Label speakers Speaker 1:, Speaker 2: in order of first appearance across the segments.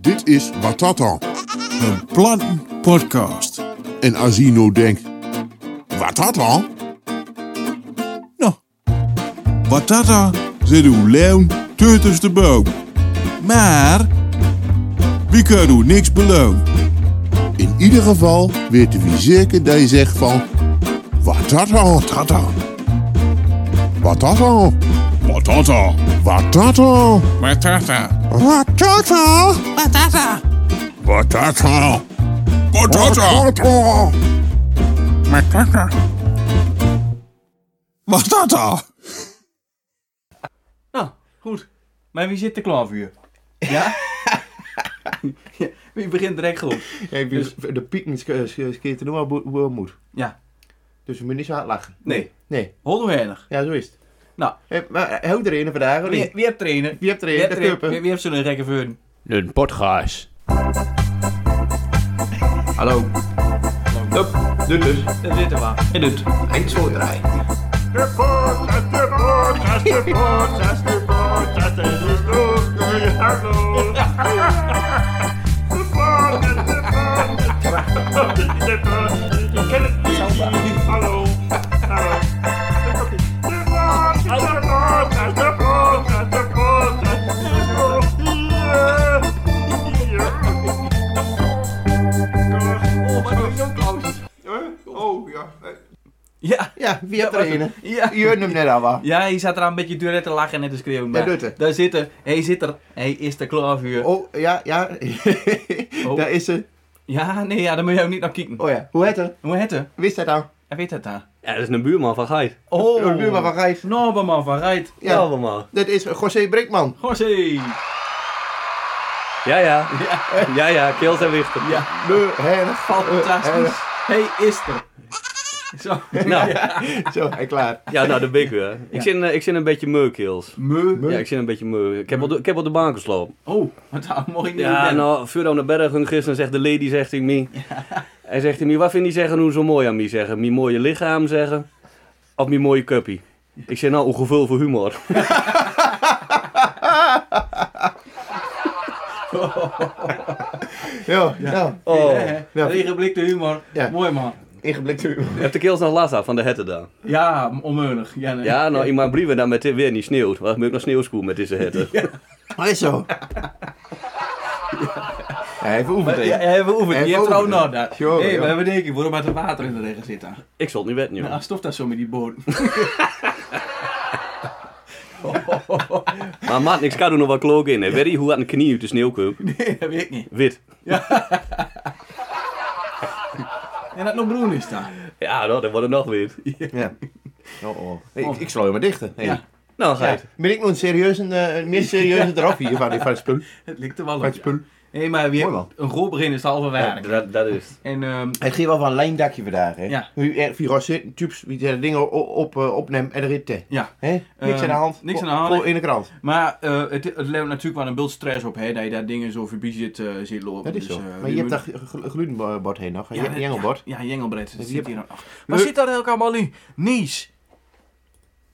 Speaker 1: Dit is Watata.
Speaker 2: Een plantenpodcast.
Speaker 1: En Asino denkt, Watata?
Speaker 2: Nou, Batata zit uw leun tussen de boom. Maar, wie kan u niks beloon?
Speaker 1: In ieder geval weten we zeker dat je zegt van, Watata, tata. Watata,
Speaker 2: Batata.
Speaker 1: watata,
Speaker 2: Batata.
Speaker 1: watata,
Speaker 2: Batata.
Speaker 1: watata,
Speaker 2: Batata.
Speaker 1: watata.
Speaker 2: Batata. Batata.
Speaker 3: Nou, goed. Maar wie zit er klaar voor? Ja? Ja, Wie begint direct goed?
Speaker 4: Ja, ik
Speaker 3: Dus-
Speaker 4: de piek niet sketen nu maar moet.
Speaker 3: Ja.
Speaker 4: Dus we moeten niet zo hard lachen.
Speaker 3: Nee.
Speaker 4: Nee.
Speaker 3: Hol hoe weinig.
Speaker 4: Ja, zo is het.
Speaker 3: Nou.
Speaker 4: Hé, maar eh, houdt er een vandaag, hoor.
Speaker 3: Wie,
Speaker 4: Wie
Speaker 3: wie hebt trainen?
Speaker 4: hebt er een? De
Speaker 3: Wie,
Speaker 4: kuppen.
Speaker 3: wie heeft zo'n rekke veun?
Speaker 5: Een podcast.
Speaker 4: Hallo. Hup, doe dus.
Speaker 3: Daar zitten we. En doet.
Speaker 4: Eind zo draaien.
Speaker 6: Hallo.
Speaker 3: Oh, maar dat is zo'n
Speaker 4: Oh, ja.
Speaker 3: Ja.
Speaker 4: Ja, wie hebt
Speaker 3: Ja,
Speaker 4: er een?
Speaker 3: Ja.
Speaker 4: Je hoort hem net al, waar.
Speaker 3: Ja, hij zat er aan een beetje duret te lachen en net te schreeuwen. Maar
Speaker 4: doet hij.
Speaker 3: Daar zit er. Hij zit er. Hij is er klaar voor.
Speaker 4: Oh, ja, ja.
Speaker 3: Oh.
Speaker 4: Daar is ze.
Speaker 3: Ja, nee, ja, daar moet je ook niet naar kijken.
Speaker 4: Oh ja, hoe heet het?
Speaker 3: Hoe heet hij?
Speaker 4: Wist hij nou?
Speaker 3: Hij weet het daar.
Speaker 5: Ja, dat is een buurman van Geit.
Speaker 3: Oh.
Speaker 4: De buurman van Gijs.
Speaker 3: Norberman van Rijt.
Speaker 4: Ja.
Speaker 5: Ja, allemaal.
Speaker 4: Dat is José Brinkman.
Speaker 3: José.
Speaker 5: Ja, ja. Ja, ja, keels en wichten.
Speaker 3: Ja,
Speaker 4: De herf.
Speaker 3: fantastisch. Hij is er. Zo.
Speaker 5: Nou,
Speaker 4: Zo, hij klaar.
Speaker 5: ja, nou, daar ben ik weer. Ik, zit, eh, ik zit een beetje meu, keels.
Speaker 3: Meu.
Speaker 5: Ja, ik zit een beetje meu. Ik heb op de, ik heb op de baan gesloopt.
Speaker 3: Oh, wat nou, mooi niet.
Speaker 5: Ja,
Speaker 3: ben.
Speaker 5: nou, vuur aan de berg en gisteren zegt de lady, zegt hij me. Hij zegt hij me, wat vind je zeggen hoe zo mooi aan mij zeggen? Mijn mooie lichaam zeggen? Of mijn mooie cuppie? Ik zeg nou, ongeveer voor humor.
Speaker 4: Ja, nou.
Speaker 5: Oh.
Speaker 3: Ja.
Speaker 4: Ja.
Speaker 3: Regenblikte humor.
Speaker 4: Ja.
Speaker 3: Mooi man.
Speaker 4: Ingeblikt u.
Speaker 5: Heb de keels nog last af van de hette dan?
Speaker 3: Ja, onmeunig. Ja, nee.
Speaker 5: Ja, nou, in mijn brieven dan met dit weer niet sneeuwt. Wat moet ik nog sneeuwschoen met deze hitte?
Speaker 4: Hij is zo. Ja, even
Speaker 3: Maar,
Speaker 4: oefenen.
Speaker 3: ja, ja, we oefenen. Je
Speaker 4: Even
Speaker 3: hebt er ook nog
Speaker 4: oefenen.
Speaker 3: nou, daar.
Speaker 4: Tjonge,
Speaker 3: Nee,
Speaker 4: joh.
Speaker 3: maar we denken, waarom had er water in de regen zitten?
Speaker 5: Ik zal het niet weten, joh.
Speaker 3: Nou, stof dat zo met die boot.
Speaker 5: Maar maat, ik kan er nog wel klok in. Hè. Weet je hoe aan de knie uit de sneeuw komt?
Speaker 3: Nee, dat weet ik niet.
Speaker 5: Wit.
Speaker 3: En dat nog broen is daar.
Speaker 5: Ja, nou, dan wordt het nog wit.
Speaker 4: Ja. Oh, oh. Ik, ik sla je maar dichter. Hey.
Speaker 3: Ja.
Speaker 5: Nou,
Speaker 4: Ja.
Speaker 5: Gijs.
Speaker 4: Ben ik nog een serieuze, eh, een meer serieuze eraf hier van, van het spul?
Speaker 3: Het ligt er wel op.
Speaker 4: Van het
Speaker 3: ja.
Speaker 4: spul.
Speaker 3: Nee, maar weer
Speaker 4: Mooi man.
Speaker 3: een groot begin is al
Speaker 5: Ja,
Speaker 3: verwerkt.
Speaker 5: dat, dat is het.
Speaker 3: En ehm,
Speaker 4: Het ging wel van een lijndakje vandaag, hè?
Speaker 3: Ja.
Speaker 4: Nu Viros zit, tubes, wie de dingen op, op, eh, opneemt en erin te.
Speaker 3: ja,
Speaker 4: Hè? Niks
Speaker 3: Ehm,
Speaker 4: aan de hand.
Speaker 3: niks aan de
Speaker 4: Ko-
Speaker 3: hand.
Speaker 4: ko- in de krant.
Speaker 3: maar eh, het, het levert natuurlijk wel een beeld stress op, hè, dat je daar dingen zo voorbij zit, eh, zit lopen.
Speaker 4: Dat is
Speaker 3: Dus,
Speaker 4: zo.
Speaker 3: eh,
Speaker 4: maar
Speaker 3: we
Speaker 4: je hebt daar
Speaker 3: moeten-
Speaker 4: gl- gl- glutenbord heen nog. je hebt een
Speaker 3: ja,
Speaker 4: jengelbord.
Speaker 3: Ja, jengelbreed. Dat
Speaker 4: Dus je
Speaker 3: zit
Speaker 4: hebt-
Speaker 3: hier nog. Waar zit dat elk allemaal in? Nies.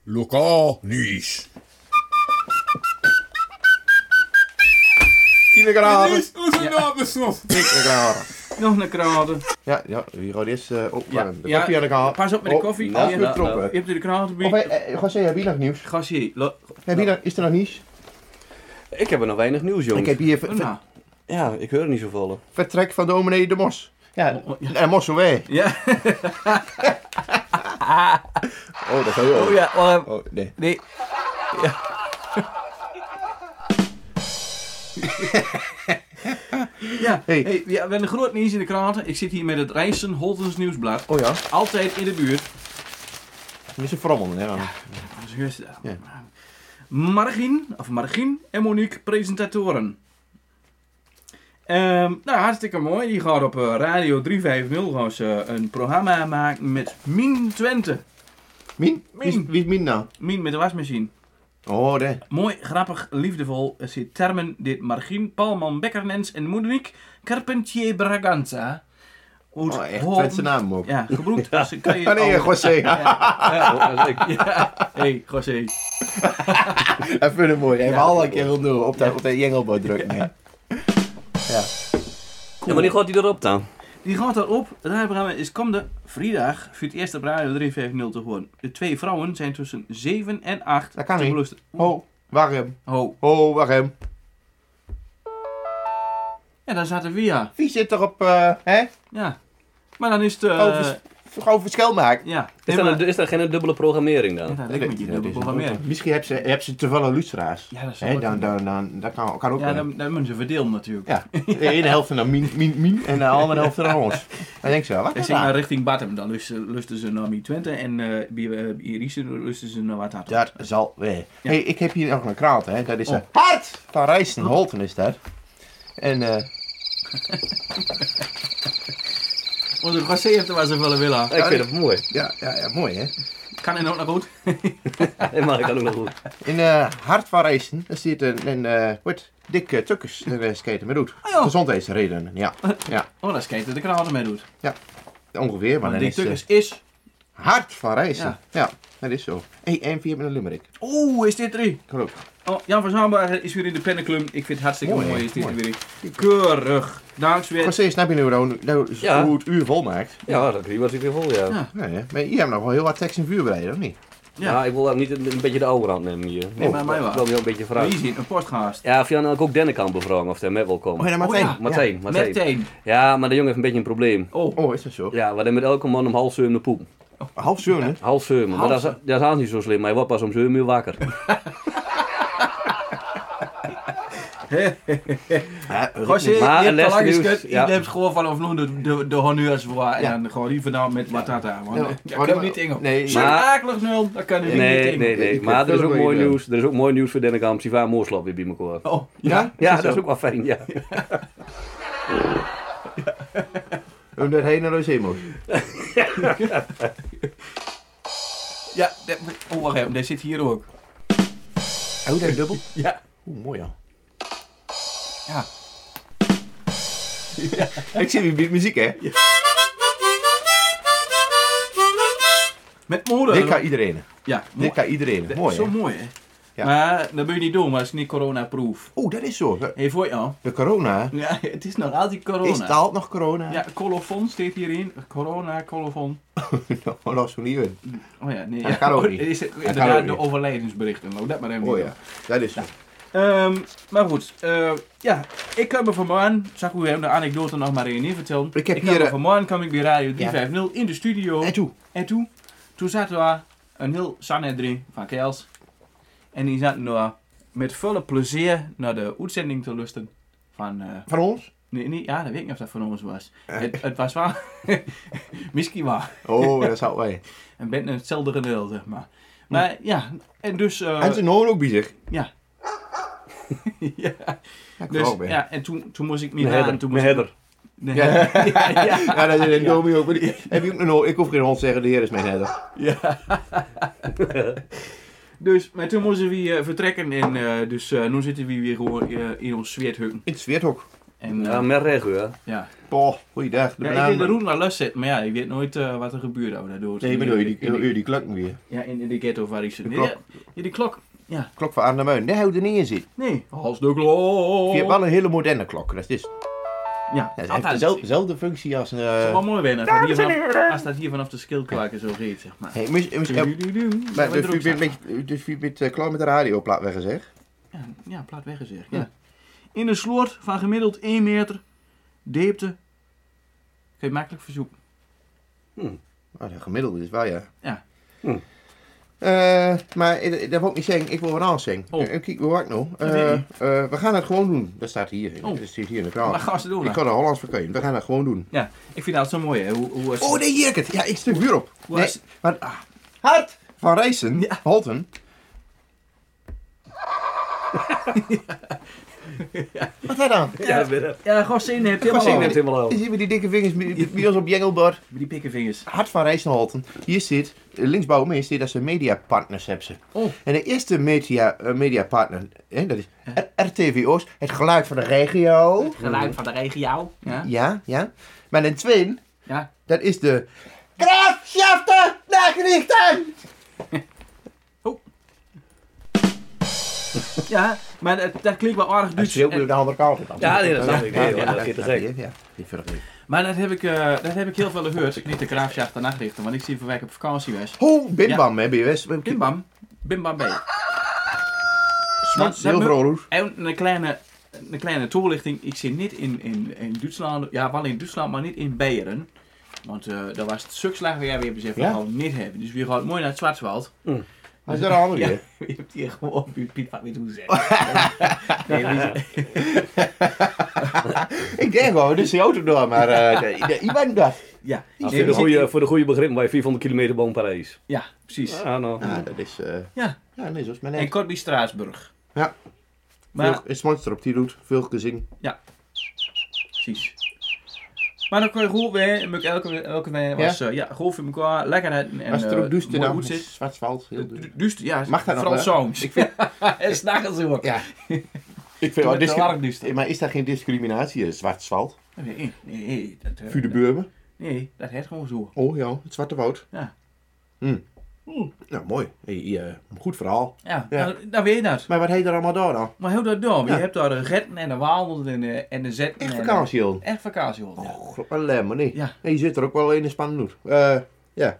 Speaker 1: Lokaal nieuws.
Speaker 4: In de krant. Niks in de krant.
Speaker 3: Nog een kraden.
Speaker 4: Ja, ja. Viros is eh opwarmen. De
Speaker 3: ja.
Speaker 4: koffie aan de krant.
Speaker 3: Pas op met de koffie.
Speaker 4: Oh,
Speaker 3: Ja,
Speaker 4: goed
Speaker 5: nou,
Speaker 4: troppen.
Speaker 5: nou.
Speaker 3: Je hebt u de kraden
Speaker 4: Of,
Speaker 3: bij.
Speaker 4: eh, eh, José, heb je nog nieuws?
Speaker 3: Gassie. lo-
Speaker 4: Heb je nog, is er nog nieuws?
Speaker 5: Ik heb er nog weinig nieuws,
Speaker 4: Ik
Speaker 5: jongens.
Speaker 4: heb hier ver- ver-
Speaker 3: Nou,
Speaker 5: Ja, ik hoor er niet zoveel.
Speaker 4: vertrek van dominee De Mos. Ja,
Speaker 3: Oh, ja.
Speaker 4: en Mos wij.
Speaker 3: Ja.
Speaker 4: Oh, dat zou je ook.
Speaker 3: Oh ja, wacht even.
Speaker 4: Oh, nee.
Speaker 3: Nee. Ja. ja,
Speaker 4: Hey.
Speaker 3: hey. ja, we hebben een groot nieuws in de kranten. Ik zit hier met het Rijnsen Holtens Nieuwsblad.
Speaker 4: Oh ja,
Speaker 3: Altijd in de buurt.
Speaker 4: dat is een frommel. Hè, dan.
Speaker 3: Dat Dus is rustig.
Speaker 4: Ja.
Speaker 3: Margin, of Margin en Monique presentatoren. Ehm, nou, hartstikke mooi. Die gaat op eh, Radio 350 gaan ze eh, een programma maken met Min Twente.
Speaker 4: Min?
Speaker 3: Min.
Speaker 4: Wie, is- wie is Min nou?
Speaker 3: Min met de wasmachine.
Speaker 4: Oh, nee.
Speaker 3: Mooi, grappig, liefdevol eh, zit termen dit Margin, Palman, Bekkernens en Monique Carpentier Braganza. Hoe het
Speaker 4: Oh, echt.
Speaker 3: horen-
Speaker 4: Zet zijn naam op.
Speaker 3: Ja, gebroed. als ze kan je
Speaker 4: Ah, nee,
Speaker 3: al-
Speaker 4: José.
Speaker 5: Ja, ik.
Speaker 3: Ja, hey, José.
Speaker 4: Even een mooi. Even
Speaker 3: Ja.
Speaker 4: alle keer opnieuw op dat, op dat jengelbord drukken. hè. Ja.
Speaker 5: En wanneer gaat hij erop dan?
Speaker 3: Die gaat daarop. Het radioprogramma is komende vrijdag voor het eerst op Radio 350 te horen. De twee vrouwen zijn tussen 7 en 8
Speaker 4: Dat kan
Speaker 3: te
Speaker 4: niet.
Speaker 3: beluisteren.
Speaker 4: Ho, warm.
Speaker 3: Ho.
Speaker 4: Ho, warm.
Speaker 3: Ja, daar zaten we ja.
Speaker 4: Wie zit er op, eh, hè?
Speaker 3: Ja. Maar dan is het... eh,
Speaker 4: Oh, vers- Gewoon verschil maken.
Speaker 3: ja.
Speaker 5: Is
Speaker 3: Nee, maar-
Speaker 5: daar, een- is daar geen dubbele programmering dan?
Speaker 3: Ja, dat lijkt me niet.
Speaker 4: Dat
Speaker 3: Dat
Speaker 4: is
Speaker 3: wel meer.
Speaker 4: Misschien hebben ze, hebben ze te veel lustra's.
Speaker 3: Ja, dat is
Speaker 4: Hè, dan, dan, dan, dat kan, kan ook
Speaker 3: Ja,
Speaker 4: wel.
Speaker 3: dan, dan moeten ze verdelen natuurlijk.
Speaker 4: Ja, de ene helft naar min, min, min en de andere helft naar ons. Dan denk je wel, wat
Speaker 3: Hij
Speaker 4: is
Speaker 3: ging naar
Speaker 4: dat?
Speaker 3: richting Batum. Dan lusten, lusten ze naar Mi Twente en eh Bi- eh, Ierisen lusten ze naar Watata.
Speaker 4: Dat zal weer.
Speaker 3: Ja.
Speaker 4: Hey, ik heb hier nog een kraalt, hè. Dat is
Speaker 3: Oh.
Speaker 4: een hart van Rijsten Holten is dat. En eh,
Speaker 3: Onze José heeft er maar zoveel willen.
Speaker 5: Ik vind het mooi.
Speaker 4: ja, ja, ja, mooi hè.
Speaker 3: Kan hij ook nog goed?
Speaker 5: En maar ik kan ook nog goed.
Speaker 4: In eh hart van Rijsten daar zit een, een eh, wat dikke tukkers eh, skaten met doet.
Speaker 3: Ah, joh.
Speaker 4: Gezondheidsredenen, ja. ja.
Speaker 3: Oh, dat is kijk dat de kraal ermee doet.
Speaker 4: Ongeveer, maar
Speaker 3: Want
Speaker 4: dan
Speaker 3: die
Speaker 4: is eh,
Speaker 3: Tukkers
Speaker 4: het
Speaker 3: is...
Speaker 4: hart van Rijsten.
Speaker 3: Ja. Oh.
Speaker 4: Ja. dat is zo. Hey, en vier met een Limerick.
Speaker 3: Oeh, is dit drie?
Speaker 4: Kan ook.
Speaker 3: Oh, Jan van Zaanbergen is weer in de pennenclub. Ik vind het hartstikke mooi,
Speaker 4: Mooi,
Speaker 3: is dit
Speaker 4: mooi.
Speaker 3: weer. Keurig. Dankzij weer.
Speaker 4: José, snap je nu hoe- nou,
Speaker 5: Ja.
Speaker 4: hoe het uur vol maakt?
Speaker 5: Ja, dat was ik weer vol,
Speaker 3: Ja.
Speaker 5: ja. Ja,
Speaker 4: Nee, hè? maar je hebt nog wel heel wat tekst en vuur bereid, of niet?
Speaker 5: Nou, ik wil ook niet een, een beetje de oude rand nemen hier. Oh,
Speaker 3: Nee, maar mij wel.
Speaker 5: Ik wil hier een beetje
Speaker 3: Wie
Speaker 5: vragen.
Speaker 3: is hier? Een podcast.
Speaker 5: Ja, of Jan ook Dennekamp bevragen of hij met wil komen.
Speaker 4: ja,
Speaker 3: Martijn.
Speaker 5: Martijn, Martijn.
Speaker 3: Meteen.
Speaker 5: Ja, maar de jongen heeft een beetje een probleem.
Speaker 3: Oh,
Speaker 4: Oh, is dat zo?
Speaker 5: Ja, wat hij met elke man om half zeum de poep.
Speaker 4: Half zeven, hè?
Speaker 5: Half zeum, maar dat is, dat is haast niet zo slim. Hij wordt pas om zeum uur wakker.
Speaker 3: José, je
Speaker 5: Maar
Speaker 3: hebt te lang
Speaker 5: een lesnieuws,
Speaker 3: geschud.
Speaker 5: ja.
Speaker 3: Je neemt gewoon vanaf nu de, de, de honneurs voor. En
Speaker 4: Ja.
Speaker 3: dan gewoon liever nou met watata. Want
Speaker 4: Ja,
Speaker 3: eh, dat
Speaker 4: maar-
Speaker 3: kan niet in.
Speaker 4: nee,
Speaker 3: Nee,
Speaker 5: maar-
Speaker 3: akelig nul. Dat kan
Speaker 5: Nee,
Speaker 3: hij niet
Speaker 5: nee,
Speaker 3: in.
Speaker 5: nee.
Speaker 4: Ik
Speaker 5: Maar er is
Speaker 4: wil
Speaker 5: ook
Speaker 4: wel
Speaker 5: mooi
Speaker 4: je-
Speaker 5: nieuws. Er is ook mooi nieuws voor Dennekamp. Siva Moorslap weer bij elkaar.
Speaker 3: Oh,
Speaker 4: Ja?
Speaker 5: Ja, dat is ook wel fijn, ja.
Speaker 4: Omdat hij naar de moest.
Speaker 3: ja. dat- Oh, wacht even. Dat zit hier ook.
Speaker 4: Hoe dat dubbel?
Speaker 3: Ja.
Speaker 4: Oeh, mooi al.
Speaker 3: Ja.
Speaker 4: Ik zit weer bij muziek, hè?
Speaker 3: Met moeder.
Speaker 4: Dit kan iedereen.
Speaker 3: Ja, mooi.
Speaker 4: Dit kan iedereen. Mooi,
Speaker 3: Zo
Speaker 4: hè?
Speaker 3: mooi, hè?
Speaker 4: Ja.
Speaker 3: Maar dat moet je niet doen, maar het is niet coronaproof.
Speaker 4: Oeh, dat is zo.
Speaker 3: Hé, voor jou.
Speaker 4: De corona.
Speaker 3: Ja, het is nog altijd corona.
Speaker 4: Is het altijd nog corona?
Speaker 3: Ja, colofon staat hierin. Corona, colofon.
Speaker 4: Nou, dat is zo niet in.
Speaker 3: Oh ja, nee.
Speaker 4: Dat
Speaker 3: ja.
Speaker 4: kan ook
Speaker 3: Oh,
Speaker 4: niet.
Speaker 3: Er is
Speaker 4: kan ook
Speaker 3: inderdaad de
Speaker 4: niet.
Speaker 3: overlijdensberichten. Laat dat maar even
Speaker 4: Oh
Speaker 3: niet
Speaker 4: ja, dat is zo.
Speaker 3: doen. Ehm, maar goed, eh, ja, ik kan me vanmorgen, zag ik u hem de anekdote nog maar één keer vertellen.
Speaker 4: Ik heb
Speaker 3: kan
Speaker 4: hier,
Speaker 3: me
Speaker 4: eh,
Speaker 3: vanmorgen kwam ik bij Radio 350 in de studio.
Speaker 4: En toe.
Speaker 3: En toen, toen zaten we een heel sanhedrin van Kels. En die zaten daar met volle plezier naar de uitzending te lusten. Van, eh,
Speaker 4: Van ons?
Speaker 3: nee, nee, ja, dat weet ik niet of dat van ons was.
Speaker 4: Eh.
Speaker 3: Het, het was wel, misschien wel,
Speaker 4: Oh, dat zou wij.
Speaker 3: een beetje hetzelfde gedeelte, zeg maar.
Speaker 4: Hm.
Speaker 3: Maar ja, en dus... eh,
Speaker 4: En zijn horen ook bezig.
Speaker 3: ja. ja,
Speaker 4: Ja, ik
Speaker 3: dus,
Speaker 4: wou ook, hè.
Speaker 3: ja, en toen, toen moest ik niet
Speaker 5: Een
Speaker 3: aan.
Speaker 5: herder.
Speaker 3: toen
Speaker 5: Een
Speaker 3: moest ik-
Speaker 5: herder.
Speaker 3: Nee,
Speaker 4: Ja.
Speaker 3: ja, ja,
Speaker 4: Ja, dat is een dominee ook. maar die- Heb je ook een hoor? Ik hoef geen hond te zeggen, de heer is mijn herder.
Speaker 3: Ja. dus, maar toen moesten we eh, vertrekken en eh, dus eh, nu zitten we weer gewoon eh, in ons zweethut.
Speaker 4: In het zweethok.
Speaker 3: En eh,
Speaker 5: Ja, met regu, hè.
Speaker 3: ja.
Speaker 4: Boah, goeiedag. De
Speaker 3: ja, ik
Speaker 4: banaan-
Speaker 3: denk dat Roen naar lust zit, maar ja, je weet nooit eh, wat er gebeurt over daardoor.
Speaker 4: Nee, maar doe je die,
Speaker 3: In
Speaker 4: doe
Speaker 3: de-
Speaker 4: je die klanken weer.
Speaker 3: Ja, in, in de ghetto waar ik zit.
Speaker 4: De
Speaker 3: Nee,
Speaker 4: klok.
Speaker 3: ja, ja, die klok. Ja,
Speaker 4: Klok van Arnhem Muin, daar houdt er niet in zit.
Speaker 3: nee. Als de klok.
Speaker 4: Je hebt wel een hele moderne klok. Dat is,
Speaker 3: Ja,
Speaker 4: dat heeft
Speaker 3: altijd.
Speaker 4: dezelfde, dezelfde functie als een... eh,
Speaker 3: Het is wel mooi wennen als, dat hier vanaf- als dat hier vanaf de skillkwaken zo reed, zeg maar.
Speaker 4: Hey, mis, mis, eh, maar dus je bent een beetje- dus je bent eh, klaar met de radioplaat weggezegd.
Speaker 3: Ja, ja plaat weggezegd. Ja. In een sloot van gemiddeld 1 meter diepte kun je makkelijk verzoeken.
Speaker 4: Nou, de gemiddelde is waar, ja.
Speaker 3: Ja.
Speaker 5: Hm.
Speaker 4: Eh, maar eh, dat wil ik niet zeggen, ik wil wat anders zeggen.
Speaker 3: Oh.
Speaker 4: Eh, kijk, hoe hard nou?
Speaker 3: Dat weet
Speaker 4: Eh,
Speaker 3: ik niet.
Speaker 4: eh, we gaan het gewoon doen. Dat staat hier.
Speaker 3: Oh.
Speaker 4: Dat staat hier in de
Speaker 3: Wat
Speaker 4: krant.
Speaker 3: gaan ze doen?
Speaker 4: Ik
Speaker 3: dan?
Speaker 4: kan er Hollands verkennen. We gaan het gewoon doen.
Speaker 3: Ja, ik vind dat zo mooi, hè? Hoe, hoe,
Speaker 4: Oh, nee, hier heb ik het. Ja, ik stuk vuur op.
Speaker 3: Hoe
Speaker 4: Nee,
Speaker 3: is-
Speaker 4: maar, ah, hard van Rijssen, Holten. Wat daar dan?
Speaker 5: Ja, dat ben ik.
Speaker 3: Ja, gewoon zin hebt helemaal
Speaker 4: Gewoon
Speaker 5: Ik
Speaker 4: zin
Speaker 5: neem
Speaker 3: al.
Speaker 5: het helemaal
Speaker 4: Je
Speaker 5: aan.
Speaker 4: ziet met die dikke vingers bij- bij ons op Jengelbord.
Speaker 3: Die pikkenvingers.
Speaker 4: Hart van Rijssenholten. Hier zit, eh, linksboven me zit dat ze mediapartners hebben. ze.
Speaker 3: Oh.
Speaker 4: En de eerste media, eh, mediapartner, hè, dat is R- RTV Oost, het geluid van de regio.
Speaker 3: Geluid van de regio. Ja?
Speaker 4: Ja, ja. Maar de tweede,
Speaker 3: Ja.
Speaker 4: dat is de... Graafschaften Nachrichten!
Speaker 3: ja, Maar dat, dat klinkt wel aardig
Speaker 4: Hij
Speaker 3: Duits. eh,
Speaker 4: schreeuwt nu op de andere kant.
Speaker 5: Ja, nee, dat snap ik. Nee,
Speaker 4: Ja,
Speaker 5: hoor,
Speaker 4: ja,
Speaker 5: dat is te
Speaker 4: snap
Speaker 5: gek.
Speaker 4: je, Ja, die vind ik niet.
Speaker 3: Maar dat heb ik, eh, dat heb ik heel veel gehoord. Niet de graafjacht de nachtrichten, want ik zie van werk op vakantie was.
Speaker 4: Ho, bimbam heb je best.
Speaker 3: Bimbam, bimbam bij.
Speaker 4: Smart, heel vrolijk.
Speaker 3: En een kleine, een kleine toelichting. Ik zit niet in, in, in Duitsland, ja wel in Duitsland, maar niet in Beieren. Want eh daar was het sukslag waar we hebben gezegd,
Speaker 4: Ja?
Speaker 3: we gaan het niet hebben. Dus we gaan mooi naar het Zwartswald.
Speaker 4: Hij is er al
Speaker 3: Ja,
Speaker 4: weer.
Speaker 3: je hebt hier gewoon Piet- Piet van niet hoe Nee, wie-
Speaker 4: Ik denk wel, dit is de auto door, maar eh, nee, nee, ik ben dat.
Speaker 3: ja.
Speaker 5: Nou,
Speaker 3: Nee, we
Speaker 5: voor, de
Speaker 3: zitten-
Speaker 5: goede, voor de goede begrip bij 400 kilometer boven Parijs.
Speaker 3: Ja, precies.
Speaker 5: Ah, nou.
Speaker 4: Ja, dat is. eh,
Speaker 3: Ja.
Speaker 4: Ja, nee, zo is mijn
Speaker 3: En
Speaker 4: net.
Speaker 3: kort bij Straatsburg.
Speaker 4: Ja.
Speaker 3: Maar,
Speaker 4: Is monster op die route, veel gezien.
Speaker 3: precies. Maar dan kon je goed weer, en moet ik elke, elke weer was, eh, ja, golf in elkaar, lekkerheid en
Speaker 4: Was er
Speaker 3: eh,
Speaker 4: ook duister
Speaker 3: mooi
Speaker 4: dan?
Speaker 3: goed zit.
Speaker 4: Zwartsveld, heel duister.
Speaker 3: Du- Duister, ja,
Speaker 4: Mag dat nog,
Speaker 3: vooral
Speaker 4: hè?
Speaker 3: soms.
Speaker 4: Ik vind,
Speaker 3: en s'nachts ook.
Speaker 4: ja. Ik vind
Speaker 3: Toen
Speaker 4: wel
Speaker 3: werd het wel
Speaker 4: discri-
Speaker 3: erg duister.
Speaker 4: Maar is daar geen discriminatie, eh, Zwartsveld?
Speaker 3: Nee, nee, nee, dat, eh,
Speaker 4: Voor de Burmen?
Speaker 3: nee, dat heeft gewoon zo.
Speaker 4: Oh ja, het Zwarte Woud.
Speaker 3: Ja.
Speaker 4: Hm. Nou, mooi. Hey, eh, goed verhaal.
Speaker 3: Ja,
Speaker 4: Ja.
Speaker 3: Dan, dan weet je dat.
Speaker 4: Maar wat heet er allemaal daar dan?
Speaker 3: Maar heel dat door,
Speaker 4: Ja.
Speaker 3: je hebt daar de retten en de waalden en de, eh, en de zetten.
Speaker 4: Echt
Speaker 3: en-
Speaker 4: vakantie, joh.
Speaker 3: Echt vakantie, hoor. Ja.
Speaker 4: Oh, grap, alleen maar nee.
Speaker 3: Ja.
Speaker 4: Nee, Je zit er ook wel in een spannende hoed. Eh,
Speaker 3: Ja,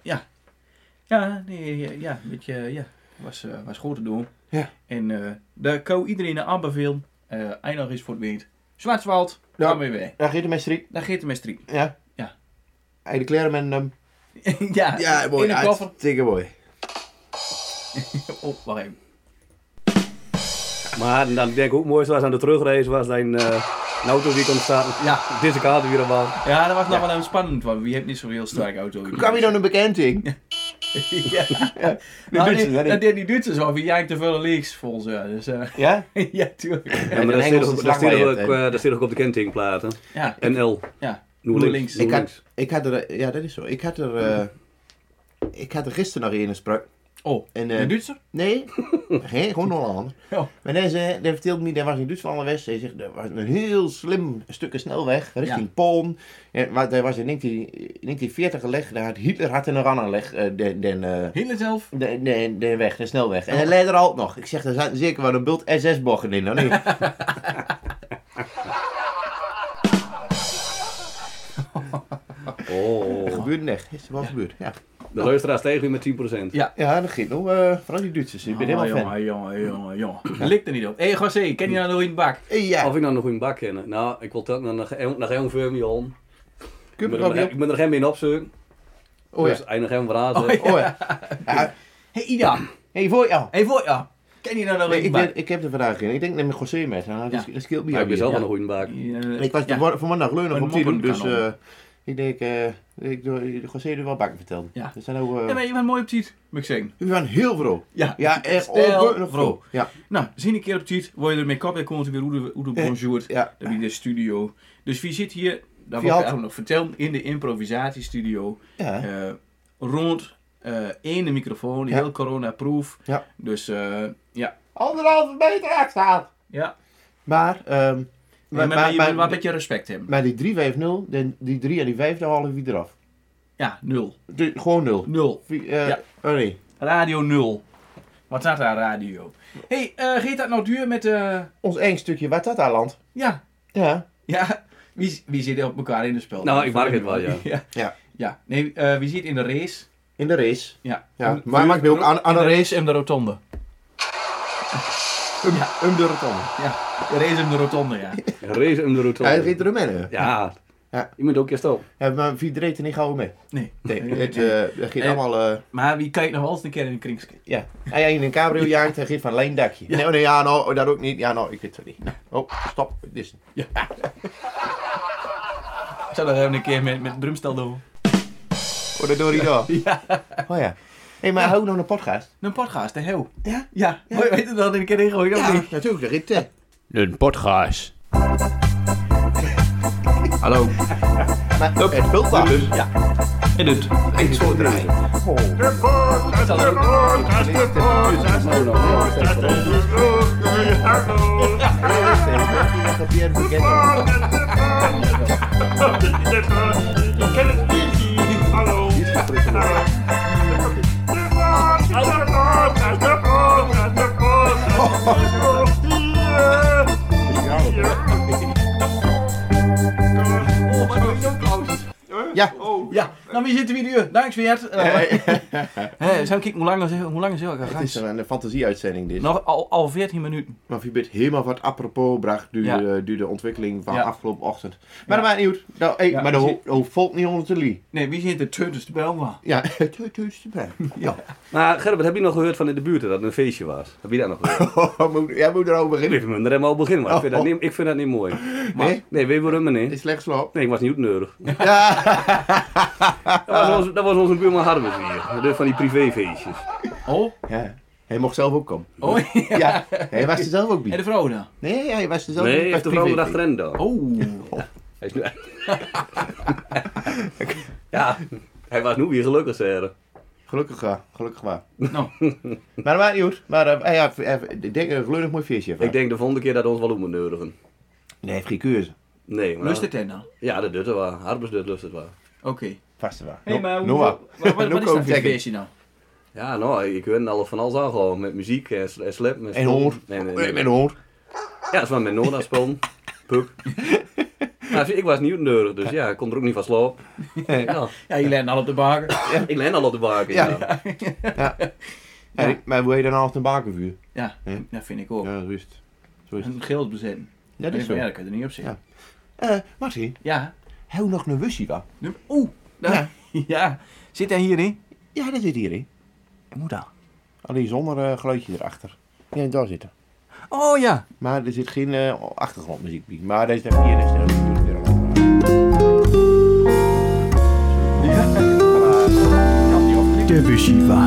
Speaker 3: nee, ja, ja, een beetje, ja, was, eh, was goed te doen.
Speaker 4: Ja.
Speaker 3: En eh daar kan iedereen een aanbeveel. eh eindig is voor het weet. Zwartswald,
Speaker 4: Ja.
Speaker 3: daar ben je bij.
Speaker 4: daar gaat de meester
Speaker 3: Daar geeft het mijn strik.
Speaker 4: Ja.
Speaker 3: Ja.
Speaker 4: Hij de kleren met ehm, hem.
Speaker 3: ja, in de koffer.
Speaker 4: Dikke mooi.
Speaker 3: Oh, wacht even.
Speaker 5: Maar dan denk ik ook mooi was aan de terugreis was zijn eh, een auto die kon staan.
Speaker 3: Ja,
Speaker 5: Deze kaart weer een baan.
Speaker 3: ja, dat was nog wel een spannend, want wie heeft niet zo'n heel sterke auto.
Speaker 4: Kan je dan een bekend ding?
Speaker 3: ja.
Speaker 4: Duitsers,
Speaker 3: Nou,
Speaker 4: hè, die-
Speaker 3: die- dat deed die Duitsers al, wie jij te veel links volgens mij. Dus, eh,
Speaker 4: Ja?
Speaker 3: ja, tuurlijk.
Speaker 5: Ja, maar
Speaker 4: een
Speaker 5: daar zit
Speaker 4: Engelse
Speaker 5: ook- daar
Speaker 4: vlag
Speaker 5: zit
Speaker 4: bij
Speaker 5: ook,
Speaker 4: het,
Speaker 5: eh, daar zit ook op de kentekenplaten.
Speaker 3: Ja,
Speaker 5: NL.
Speaker 3: ja.
Speaker 5: Noem
Speaker 3: Noem
Speaker 5: links.
Speaker 3: links.
Speaker 5: noem
Speaker 4: Ik had,
Speaker 5: links.
Speaker 4: ik had er, eh, ja dat is zo. Ik had er, eh, ik had er gisteren nog een in sprak.
Speaker 3: Oh,
Speaker 4: En, eh,
Speaker 3: een Duitser?
Speaker 4: nee, geen, gewoon Hollander.
Speaker 3: Ja.
Speaker 4: Maar nee, ze, die vertelde me, daar was in Duitsland geweest. Hij zegt, er was een heel slim stukje snelweg richting
Speaker 3: Ja.
Speaker 4: Polen. En, maar daar was in 19- 1940 gelegd, daar had Hitler had een ran aanleg, eh, den, den, eh,
Speaker 3: Hitler zelf?
Speaker 4: de, de, de weg, de snelweg. En hij leidt er ook nog. Ik zeg, er zaten zeker wel een bult SS-bochten in, hoor. niet?
Speaker 5: Oh,
Speaker 4: Gebeurde echt. Is er wel gebeurd, ja.
Speaker 5: de luisteraar steeg weer met 10%.
Speaker 3: Ja.
Speaker 4: Ja, dat ging nog. eh, vooral die Duitsers. Ik ben helemaal fan.
Speaker 3: Ah, jongen, jongen, jongen, jongen. Dat Likt er niet op. Hé, hey, José, ken je nou nog in de bak?
Speaker 4: Eh, Ja,
Speaker 5: Of ik nou nog een bak ken. Nou, ik wil dat naar naar een firmie om. Ik
Speaker 4: kun je
Speaker 5: ben
Speaker 4: er wel
Speaker 5: er-
Speaker 4: weer
Speaker 5: ik ben er geen meer in opzoeken.
Speaker 4: op? Oh ja.
Speaker 5: Dus eindig hem verhazen.
Speaker 3: Oh, ja.
Speaker 4: Oh ja. Ja,
Speaker 3: Hé, hey, Ida.
Speaker 4: hey, voor jou.
Speaker 3: Hé, voor ja. Ken je nou nog
Speaker 4: Nee,
Speaker 3: in de
Speaker 4: ik,
Speaker 3: bak?
Speaker 4: ben, ik heb er vandaag geen. Ik denk neem een José met. Nou, dat,
Speaker 3: Ja.
Speaker 4: dat scheelt
Speaker 5: Ja, ik ben
Speaker 4: niet.
Speaker 5: zelf
Speaker 3: ja.
Speaker 5: wel een goede bak.
Speaker 3: Eh,
Speaker 4: Ik was
Speaker 3: ja.
Speaker 4: voor- vanmiddag leunig
Speaker 3: Een
Speaker 4: op Tirum, dus
Speaker 3: moppenkanon.
Speaker 4: eh, ik denk, eh ik doe José er wel bakken vertellen.
Speaker 3: Ja.
Speaker 4: Dus dan ook, eh,
Speaker 3: Ja, maar je bent mooi op tiet, moet ik zeggen.
Speaker 4: U bent heel vro.
Speaker 3: Ja.
Speaker 4: Ja, eh, oh, echt
Speaker 3: Stel
Speaker 4: ongelooflijk
Speaker 3: vro.
Speaker 4: vro. Ja,
Speaker 3: Nou, zie je een keer op tiet, word je er mee kap en komt er weer hoe de- hoe de bonjour.
Speaker 4: ja.
Speaker 3: Dan heb je de studio. Dus wie zit hier, dat
Speaker 4: Wie
Speaker 3: wil ik
Speaker 4: had-
Speaker 3: eigenlijk nog vertellen, in de improvisatiestudio.
Speaker 4: ja.
Speaker 3: eh, rond eh één microfoon,
Speaker 4: Ja.
Speaker 3: heel corona-proof.
Speaker 4: Ja.
Speaker 3: Dus eh, ja.
Speaker 4: Anderhalve meter afstand.
Speaker 3: Ja,
Speaker 4: Maar, ehm
Speaker 3: maar, maar, je moet wel een beetje respect hebben.
Speaker 4: Maar die 350, de- die 3 en die 5, daar halen we weer eraf.
Speaker 3: Ja, nul.
Speaker 4: De- gewoon 0.
Speaker 3: Nul. Ja.
Speaker 4: Oh nee.
Speaker 3: Radio 0. Wat staat daar radio? Hé, hey, geeft dat nou duur met... eh,
Speaker 4: Ons eng stukje Watata-land.
Speaker 3: ja,
Speaker 4: Ja.
Speaker 3: ja. Wie, wie zit op elkaar in de spel?
Speaker 5: Nou, ik maak het wel, ja.
Speaker 3: ja.
Speaker 4: Ja.
Speaker 3: Ja. Nee, eh, wie zit in de race?
Speaker 4: In de race.
Speaker 3: Ja.
Speaker 4: Ja.
Speaker 3: En-
Speaker 4: Maar maakt me ook aan, aan de race.
Speaker 3: en de rotonde.
Speaker 4: Um, um de rotonde.
Speaker 3: Ja, de race en de rotonde, ja.
Speaker 5: Race om de route.
Speaker 4: Hij reed er mee.
Speaker 5: Ja.
Speaker 4: Ja.
Speaker 5: Je moet ook eerst op.
Speaker 4: Ja, maar wie reed er niet gauw mee?
Speaker 3: Nee.
Speaker 4: Nee. Het, eh dat ging
Speaker 3: Eh.
Speaker 4: allemaal... eh
Speaker 3: Maar wie kijkt nog wel eens een keer in de kringske?
Speaker 4: ja. Hij ging in een cabrio jaagt, hij geeft van een lijn dakje. Nee, oh, nee, ja, nou, dat ook niet. Ja, nou, ik weet het niet. Nou, Oh, stop. Dit is...
Speaker 3: Ik zou dat even een keer met, met een drumstel doen.
Speaker 4: Oh, dat doe je door.
Speaker 3: Ja.
Speaker 4: Oh ja. Hé, hey, maar hou nog een podcast?
Speaker 3: Een podcast, de heel.
Speaker 4: Ja?
Speaker 3: Ja. Weet Weet je dat in een keer ingooien? of niet?
Speaker 4: natuurlijk. Dat reed eh.
Speaker 1: Een podcast.
Speaker 3: Hallo.
Speaker 4: Maar het vult wel.
Speaker 3: En het.
Speaker 4: Ik zo draaien. Oh.
Speaker 6: Hallo.
Speaker 4: Ja.
Speaker 6: Oh.
Speaker 3: Ja, nou we zitten weer uur. Dank weer. Hé, zijn kijken hoe lang is hoe lang is heel erg
Speaker 4: Het is
Speaker 3: gaan.
Speaker 4: een eh, fantasieuitzending dit.
Speaker 3: Nog al, al 14 minuten.
Speaker 4: Maar wie bent helemaal wat apropos bracht door
Speaker 3: Ja.
Speaker 4: de, door de ontwikkeling van
Speaker 3: Ja.
Speaker 4: afgelopen ochtend. Maar
Speaker 3: Ja.
Speaker 4: dat maakt niet uit. Nou, hey,
Speaker 3: Ja,
Speaker 4: maar dat
Speaker 3: precies.
Speaker 4: ho- dat valt niet onder de lie.
Speaker 3: Nee, wie zit de tutters de bel van?
Speaker 4: Ja, het het is te brengen. Ja.
Speaker 5: Maar Gerbert, heb je nog gehoord van in de buurt dat het een feestje was? Heb je daar nog gehoord?
Speaker 4: Moet- Jij moet erover beginnen.
Speaker 5: ik weet niet, daar hebben we al beginnen, maar ik vind dat niet, ik vind dat niet mooi.
Speaker 4: Nee,
Speaker 5: Nee, weet je waarom,
Speaker 4: het
Speaker 5: meneer?
Speaker 4: Oh. is slecht slaap.
Speaker 5: Nee, ik was niet nodig.
Speaker 4: Ja.
Speaker 5: Dat was, onze- dat was onze buurman Harmes hier. De- Van die privéfeestjes.
Speaker 3: Oh,
Speaker 4: ja. Hij mocht zelf ook komen.
Speaker 3: oh ja.
Speaker 4: Ja, hij was er zelf ook
Speaker 3: En
Speaker 4: bij.
Speaker 3: de vrouw dan?
Speaker 4: Nee, hij was er zelf
Speaker 5: Nee,
Speaker 4: bij.
Speaker 5: hij heeft de vrouw een achterin dan.
Speaker 3: Oh.
Speaker 5: Hij is nu... ja, hij was nu weer gelukkig, zeg.
Speaker 4: Gelukkig waar, gelukkig waar.
Speaker 3: Nou.
Speaker 4: Maar dat maakt niet uit. Maar eh, hij had- hij- ik denk een gelukkig mooi feestje.
Speaker 5: Ik denk de volgende keer dat we ons wel om nodigen.
Speaker 4: Nee, hij heeft geen keuze.
Speaker 5: Nee, maar...
Speaker 3: Lust het hen dan?
Speaker 5: Ja, dat doet het wel. Harmes doet lust het wel.
Speaker 3: Oké.
Speaker 4: Vast waar.
Speaker 3: Hé,
Speaker 4: No-
Speaker 3: maar hoe-
Speaker 4: Noah.
Speaker 3: wat- Wat, wat,
Speaker 4: Noah
Speaker 3: is dat
Speaker 4: ook
Speaker 3: voor
Speaker 4: zeggen.
Speaker 3: feestje dan?
Speaker 5: Ja, nou, ik ben al van alles aan gewoon. Met muziek en, sl- en slap. Met
Speaker 4: En
Speaker 5: spul.
Speaker 4: hoor.
Speaker 5: Nee, nee, nee.
Speaker 4: Met een hond.
Speaker 5: Ja, dat is wel met Nora spelen. Puk. Ja, ik was niet nodig, dus ja, ik kon er ook niet van slapen. Ja,
Speaker 3: Ja, je legt al op de baken.
Speaker 5: ik leen al op de baken. Ja.
Speaker 4: Ja, die- Maar hoe heet dan altijd een bakenvuur?
Speaker 3: Ja,
Speaker 4: Ja.
Speaker 3: dat vind ik ook.
Speaker 4: Ja, rust. Zo is het.
Speaker 3: Een gild bezetten.
Speaker 4: Ja, dat
Speaker 3: Ik denk
Speaker 4: is zo.
Speaker 3: van, Ja, dat kan je er niet op zitten.
Speaker 4: Eh, Martin,
Speaker 3: Ja.
Speaker 4: hou nog een wussie waar?
Speaker 3: Nu- Oeh. daar-
Speaker 4: Ja.
Speaker 3: Ja. Zit hij hierin?
Speaker 4: Ja, dat zit hierin.
Speaker 3: Moet dat.
Speaker 4: Alleen zonder eh, geluidje erachter. Ja, daar zitten.
Speaker 3: Oh ja.
Speaker 4: Maar er zit geen eh, achtergrondmuziek bij. Maar deze heb hier is er ook natuurlijk weer een andere.
Speaker 3: De Bushiwa.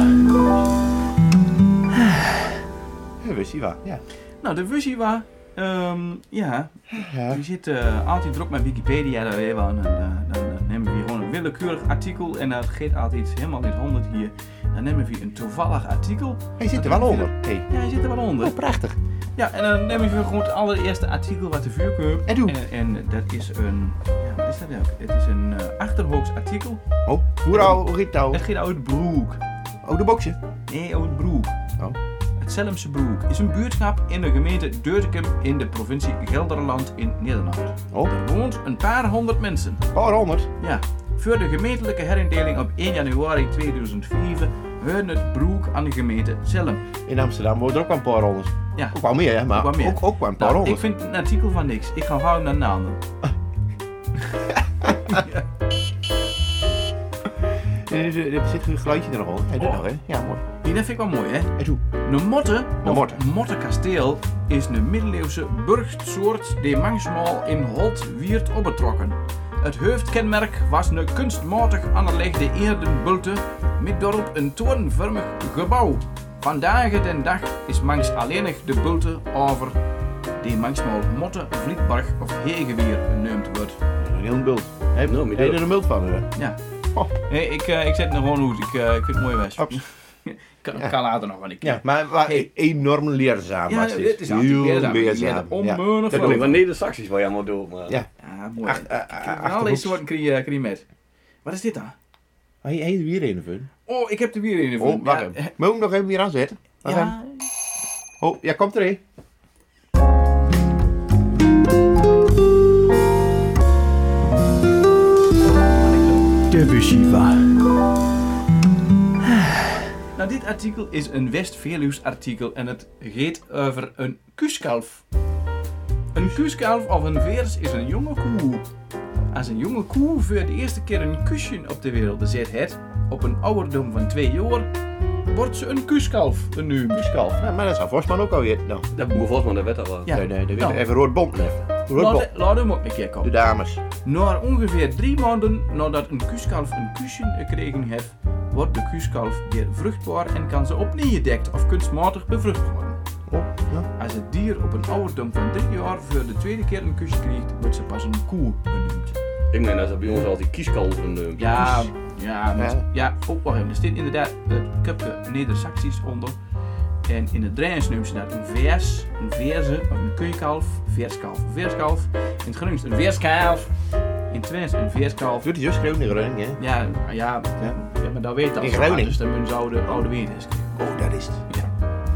Speaker 4: Ja, wussie waar? Ja.
Speaker 3: Nou, de Bushiwa. Ehm ja,
Speaker 4: Ja.
Speaker 3: die zit eh, altijd druk met Wikipedia. Daar hebben we een, eh, dan eh, nemen we hier gewoon een willekeurig artikel. En dat geeft altijd helemaal dit 100 hier. Dan nemen we hier een toevallig artikel.
Speaker 4: Hij zit er wel onder. Hey.
Speaker 3: Ja, hij zit er wel onder.
Speaker 4: Oh, prachtig.
Speaker 3: Ja, en dan neem je gewoon het allereerste artikel wat te vuur komt.
Speaker 4: En doe.
Speaker 3: En, en dat is een. Ja, wat is dat nou? Het is een eh achterhoeks artikel.
Speaker 4: Oh, hoera, Rito.
Speaker 3: Het gaat uit Broek.
Speaker 4: Oh, de boksen.
Speaker 3: Nee, uit Broek.
Speaker 4: Oh.
Speaker 3: Het Zelmse Broek is een buurtschap in de gemeente Deurtikum in de provincie Gelderland in Nederland.
Speaker 4: Oh,
Speaker 3: Er woont een paar honderd mensen.
Speaker 4: paar honderd.
Speaker 3: Ja. Voor de gemeentelijke herindeling op 1 januari 2004 hoorde het Broek aan de gemeente Zelm.
Speaker 4: In Amsterdam wordt er ook wel een paar honderd.
Speaker 3: Ja.
Speaker 4: Ook wel meer, hè, maar
Speaker 3: Ook wel meer.
Speaker 4: Ook, ook wel een paar
Speaker 3: Nou, ik
Speaker 4: honderd.
Speaker 3: vind een artikel van niks. Ik ga gauw naar namen.
Speaker 4: Er,
Speaker 3: eh,
Speaker 4: er, er zit een geluidje er nog onder. Hij doet
Speaker 3: Oh.
Speaker 4: nog, nou, hè? Ja, mooi.
Speaker 3: Die vind ik wel mooi, hè?
Speaker 4: Hij doet.
Speaker 3: Een motte,
Speaker 4: Een motte.
Speaker 3: of mottenkasteel, is een middeleeuwse burchtsoort die mangsmal in Holt wierd opgetrokken. Het hoofdkenmerk was een kunstmatig aangelegde eerdenbulte met daarop een torenvormig gebouw. Vandaag den dag is mangs alleenig de bulte over die mangsmal motte, vlietbarg of hegeweer genoemd wordt.
Speaker 4: Een heel bult. Hij
Speaker 5: Nou,
Speaker 4: heeft
Speaker 5: meer
Speaker 4: hij
Speaker 5: dan.
Speaker 4: er een bult van. hè?
Speaker 3: Ja.
Speaker 4: Oh.
Speaker 3: Nee, ik, eh, ik zet hem er gewoon uit. Ik, eh, ik vind het mooi best.
Speaker 4: Ops.
Speaker 3: kan,
Speaker 4: Ja.
Speaker 3: kan later nog wel een keer.
Speaker 4: Ja, maar, maar
Speaker 3: Hey.
Speaker 4: enorm leerzaam
Speaker 3: Ja,
Speaker 4: was dit.
Speaker 3: dit is altijd leerzaam. Ja, eh.
Speaker 4: leerzaam. Ja.
Speaker 3: onmogelijk.
Speaker 4: Dat
Speaker 5: Ik weet
Speaker 4: klopt.
Speaker 5: wat Neder-Saxisch wel jammer doet, maar...
Speaker 4: Ja.
Speaker 3: Ja, mooi.
Speaker 4: Ach, eh, eh,
Speaker 3: Van allerlei
Speaker 4: achterhoeks.
Speaker 3: soorten krie, eh, krie met. Wat is dit dan?
Speaker 4: Hij hij heeft weer een van.
Speaker 3: Oh, ik heb er weer een in.
Speaker 4: Oh, wacht
Speaker 3: Ja, eh,
Speaker 4: even. Moet ik hem nog even weer aanzetten? Wacht even.
Speaker 3: ja,
Speaker 4: Oh, ja, komt er een.
Speaker 3: Nou, dit artikel is een West-Veluws artikel en het gaat over een kuuskalf. Een kuuskalf of een veers is een jonge koe. Als een jonge koe voor de eerste keer een kusje op de wereld zet het, op een ouderdom van twee jaar, wordt ze een kuuskalf genoemd.
Speaker 4: Muskalf. Nou, maar dat zou Vosman ook alweer. Nou,
Speaker 5: Dat moet volgens mij, dat werd dat wel.
Speaker 3: Ja,
Speaker 4: nee, nee, dat weet
Speaker 3: nou,
Speaker 4: ik. even rood bond leggen. Rood bond.
Speaker 3: laat, laat hem ook een keer komen.
Speaker 4: De dames.
Speaker 3: Na ongeveer drie maanden nadat een kuuskalf een kusje gekregen heeft, wordt de kuuskalf weer vruchtbaar en kan ze opnieuw gedekt of kunstmatig bevrucht worden.
Speaker 4: Oh, ja.
Speaker 3: Als het dier op een ouderdom van drie jaar voor de tweede keer een kusje krijgt, wordt ze pas een koe genoemd.
Speaker 5: Ik meen dat ze bij ons al die kieskalven neemt.
Speaker 3: Ja, ja, maar-
Speaker 4: Ja.
Speaker 3: ja, oh, wacht even. Er staat inderdaad het kupje Neder-Saxisch onder. En in het Drents noemen ze dat een vers, een verse, of een kuikalf, verskalf, een verskalf. In het Gronings een verskalf. In het Twents een verskalf.
Speaker 4: Doet hij zo schreeuwen in Groningen, hè?
Speaker 3: Ja, ja, ja. maar dat weet dat.
Speaker 4: In Groningen.
Speaker 3: Dus dan moeten ze oude, oude weten is.
Speaker 4: Oh, dat is het.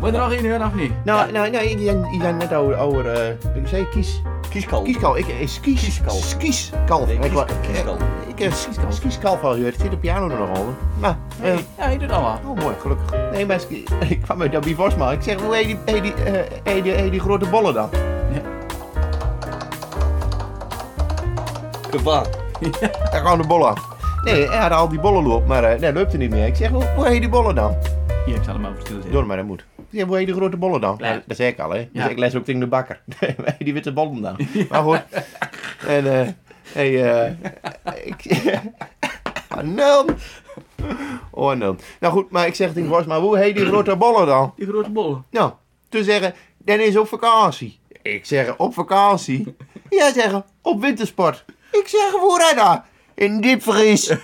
Speaker 3: Wordt er nog één uur of niet?
Speaker 4: Nou, nou, nou, ik ben net over, over eh, ik zei kies,
Speaker 5: Kieskal.
Speaker 4: Kieskal, ik eh, skies,
Speaker 5: Kieskal.
Speaker 4: Skieskalf.
Speaker 5: Nee,
Speaker 4: Ik
Speaker 5: kieskal-
Speaker 4: wa-
Speaker 5: kieskal.
Speaker 4: eh, Ik heb skieskalf al gehoord. Ik zit de piano er nog onder. Nou, eh,
Speaker 3: Ja, je doet al wat.
Speaker 4: oh mooi, gelukkig. Nee, maar ski- ik kwam uit Dabby Vosma. Ik zeg, hoe heet die, heet die, eh, heet die, heet die grote bollen dan?
Speaker 5: Kebab.
Speaker 4: Hij kwam de bollen af. Nee, hij had al die bollen loop, maar eh nee, loopt er niet meer. Ik zeg, hoe, hoe heet die bollen dan?
Speaker 3: Hier, ik zal hem over stilzitten.
Speaker 4: Door maar dat moet. Ik zeg, hoe heet die grote bollen dan?
Speaker 3: Ja.
Speaker 4: Nou, dat zei ik al, hè. Dus
Speaker 3: Ja.
Speaker 4: ik les ook tegen de bakker. Nee, hoe heet die witte bollen dan? Maar goed. En, eh, hey, eh, ik... Ah, Nul. Oh, nul. Nou goed, maar ik zeg tegen Bos, maar hoe heet die grote bollen dan?
Speaker 3: Die grote bollen.
Speaker 4: Nou, te zeggen, dan is op vakantie. Ik zeg, op vakantie? Jij zeggen, op wintersport. Ik zeg, hoe hij daar? In diepvries.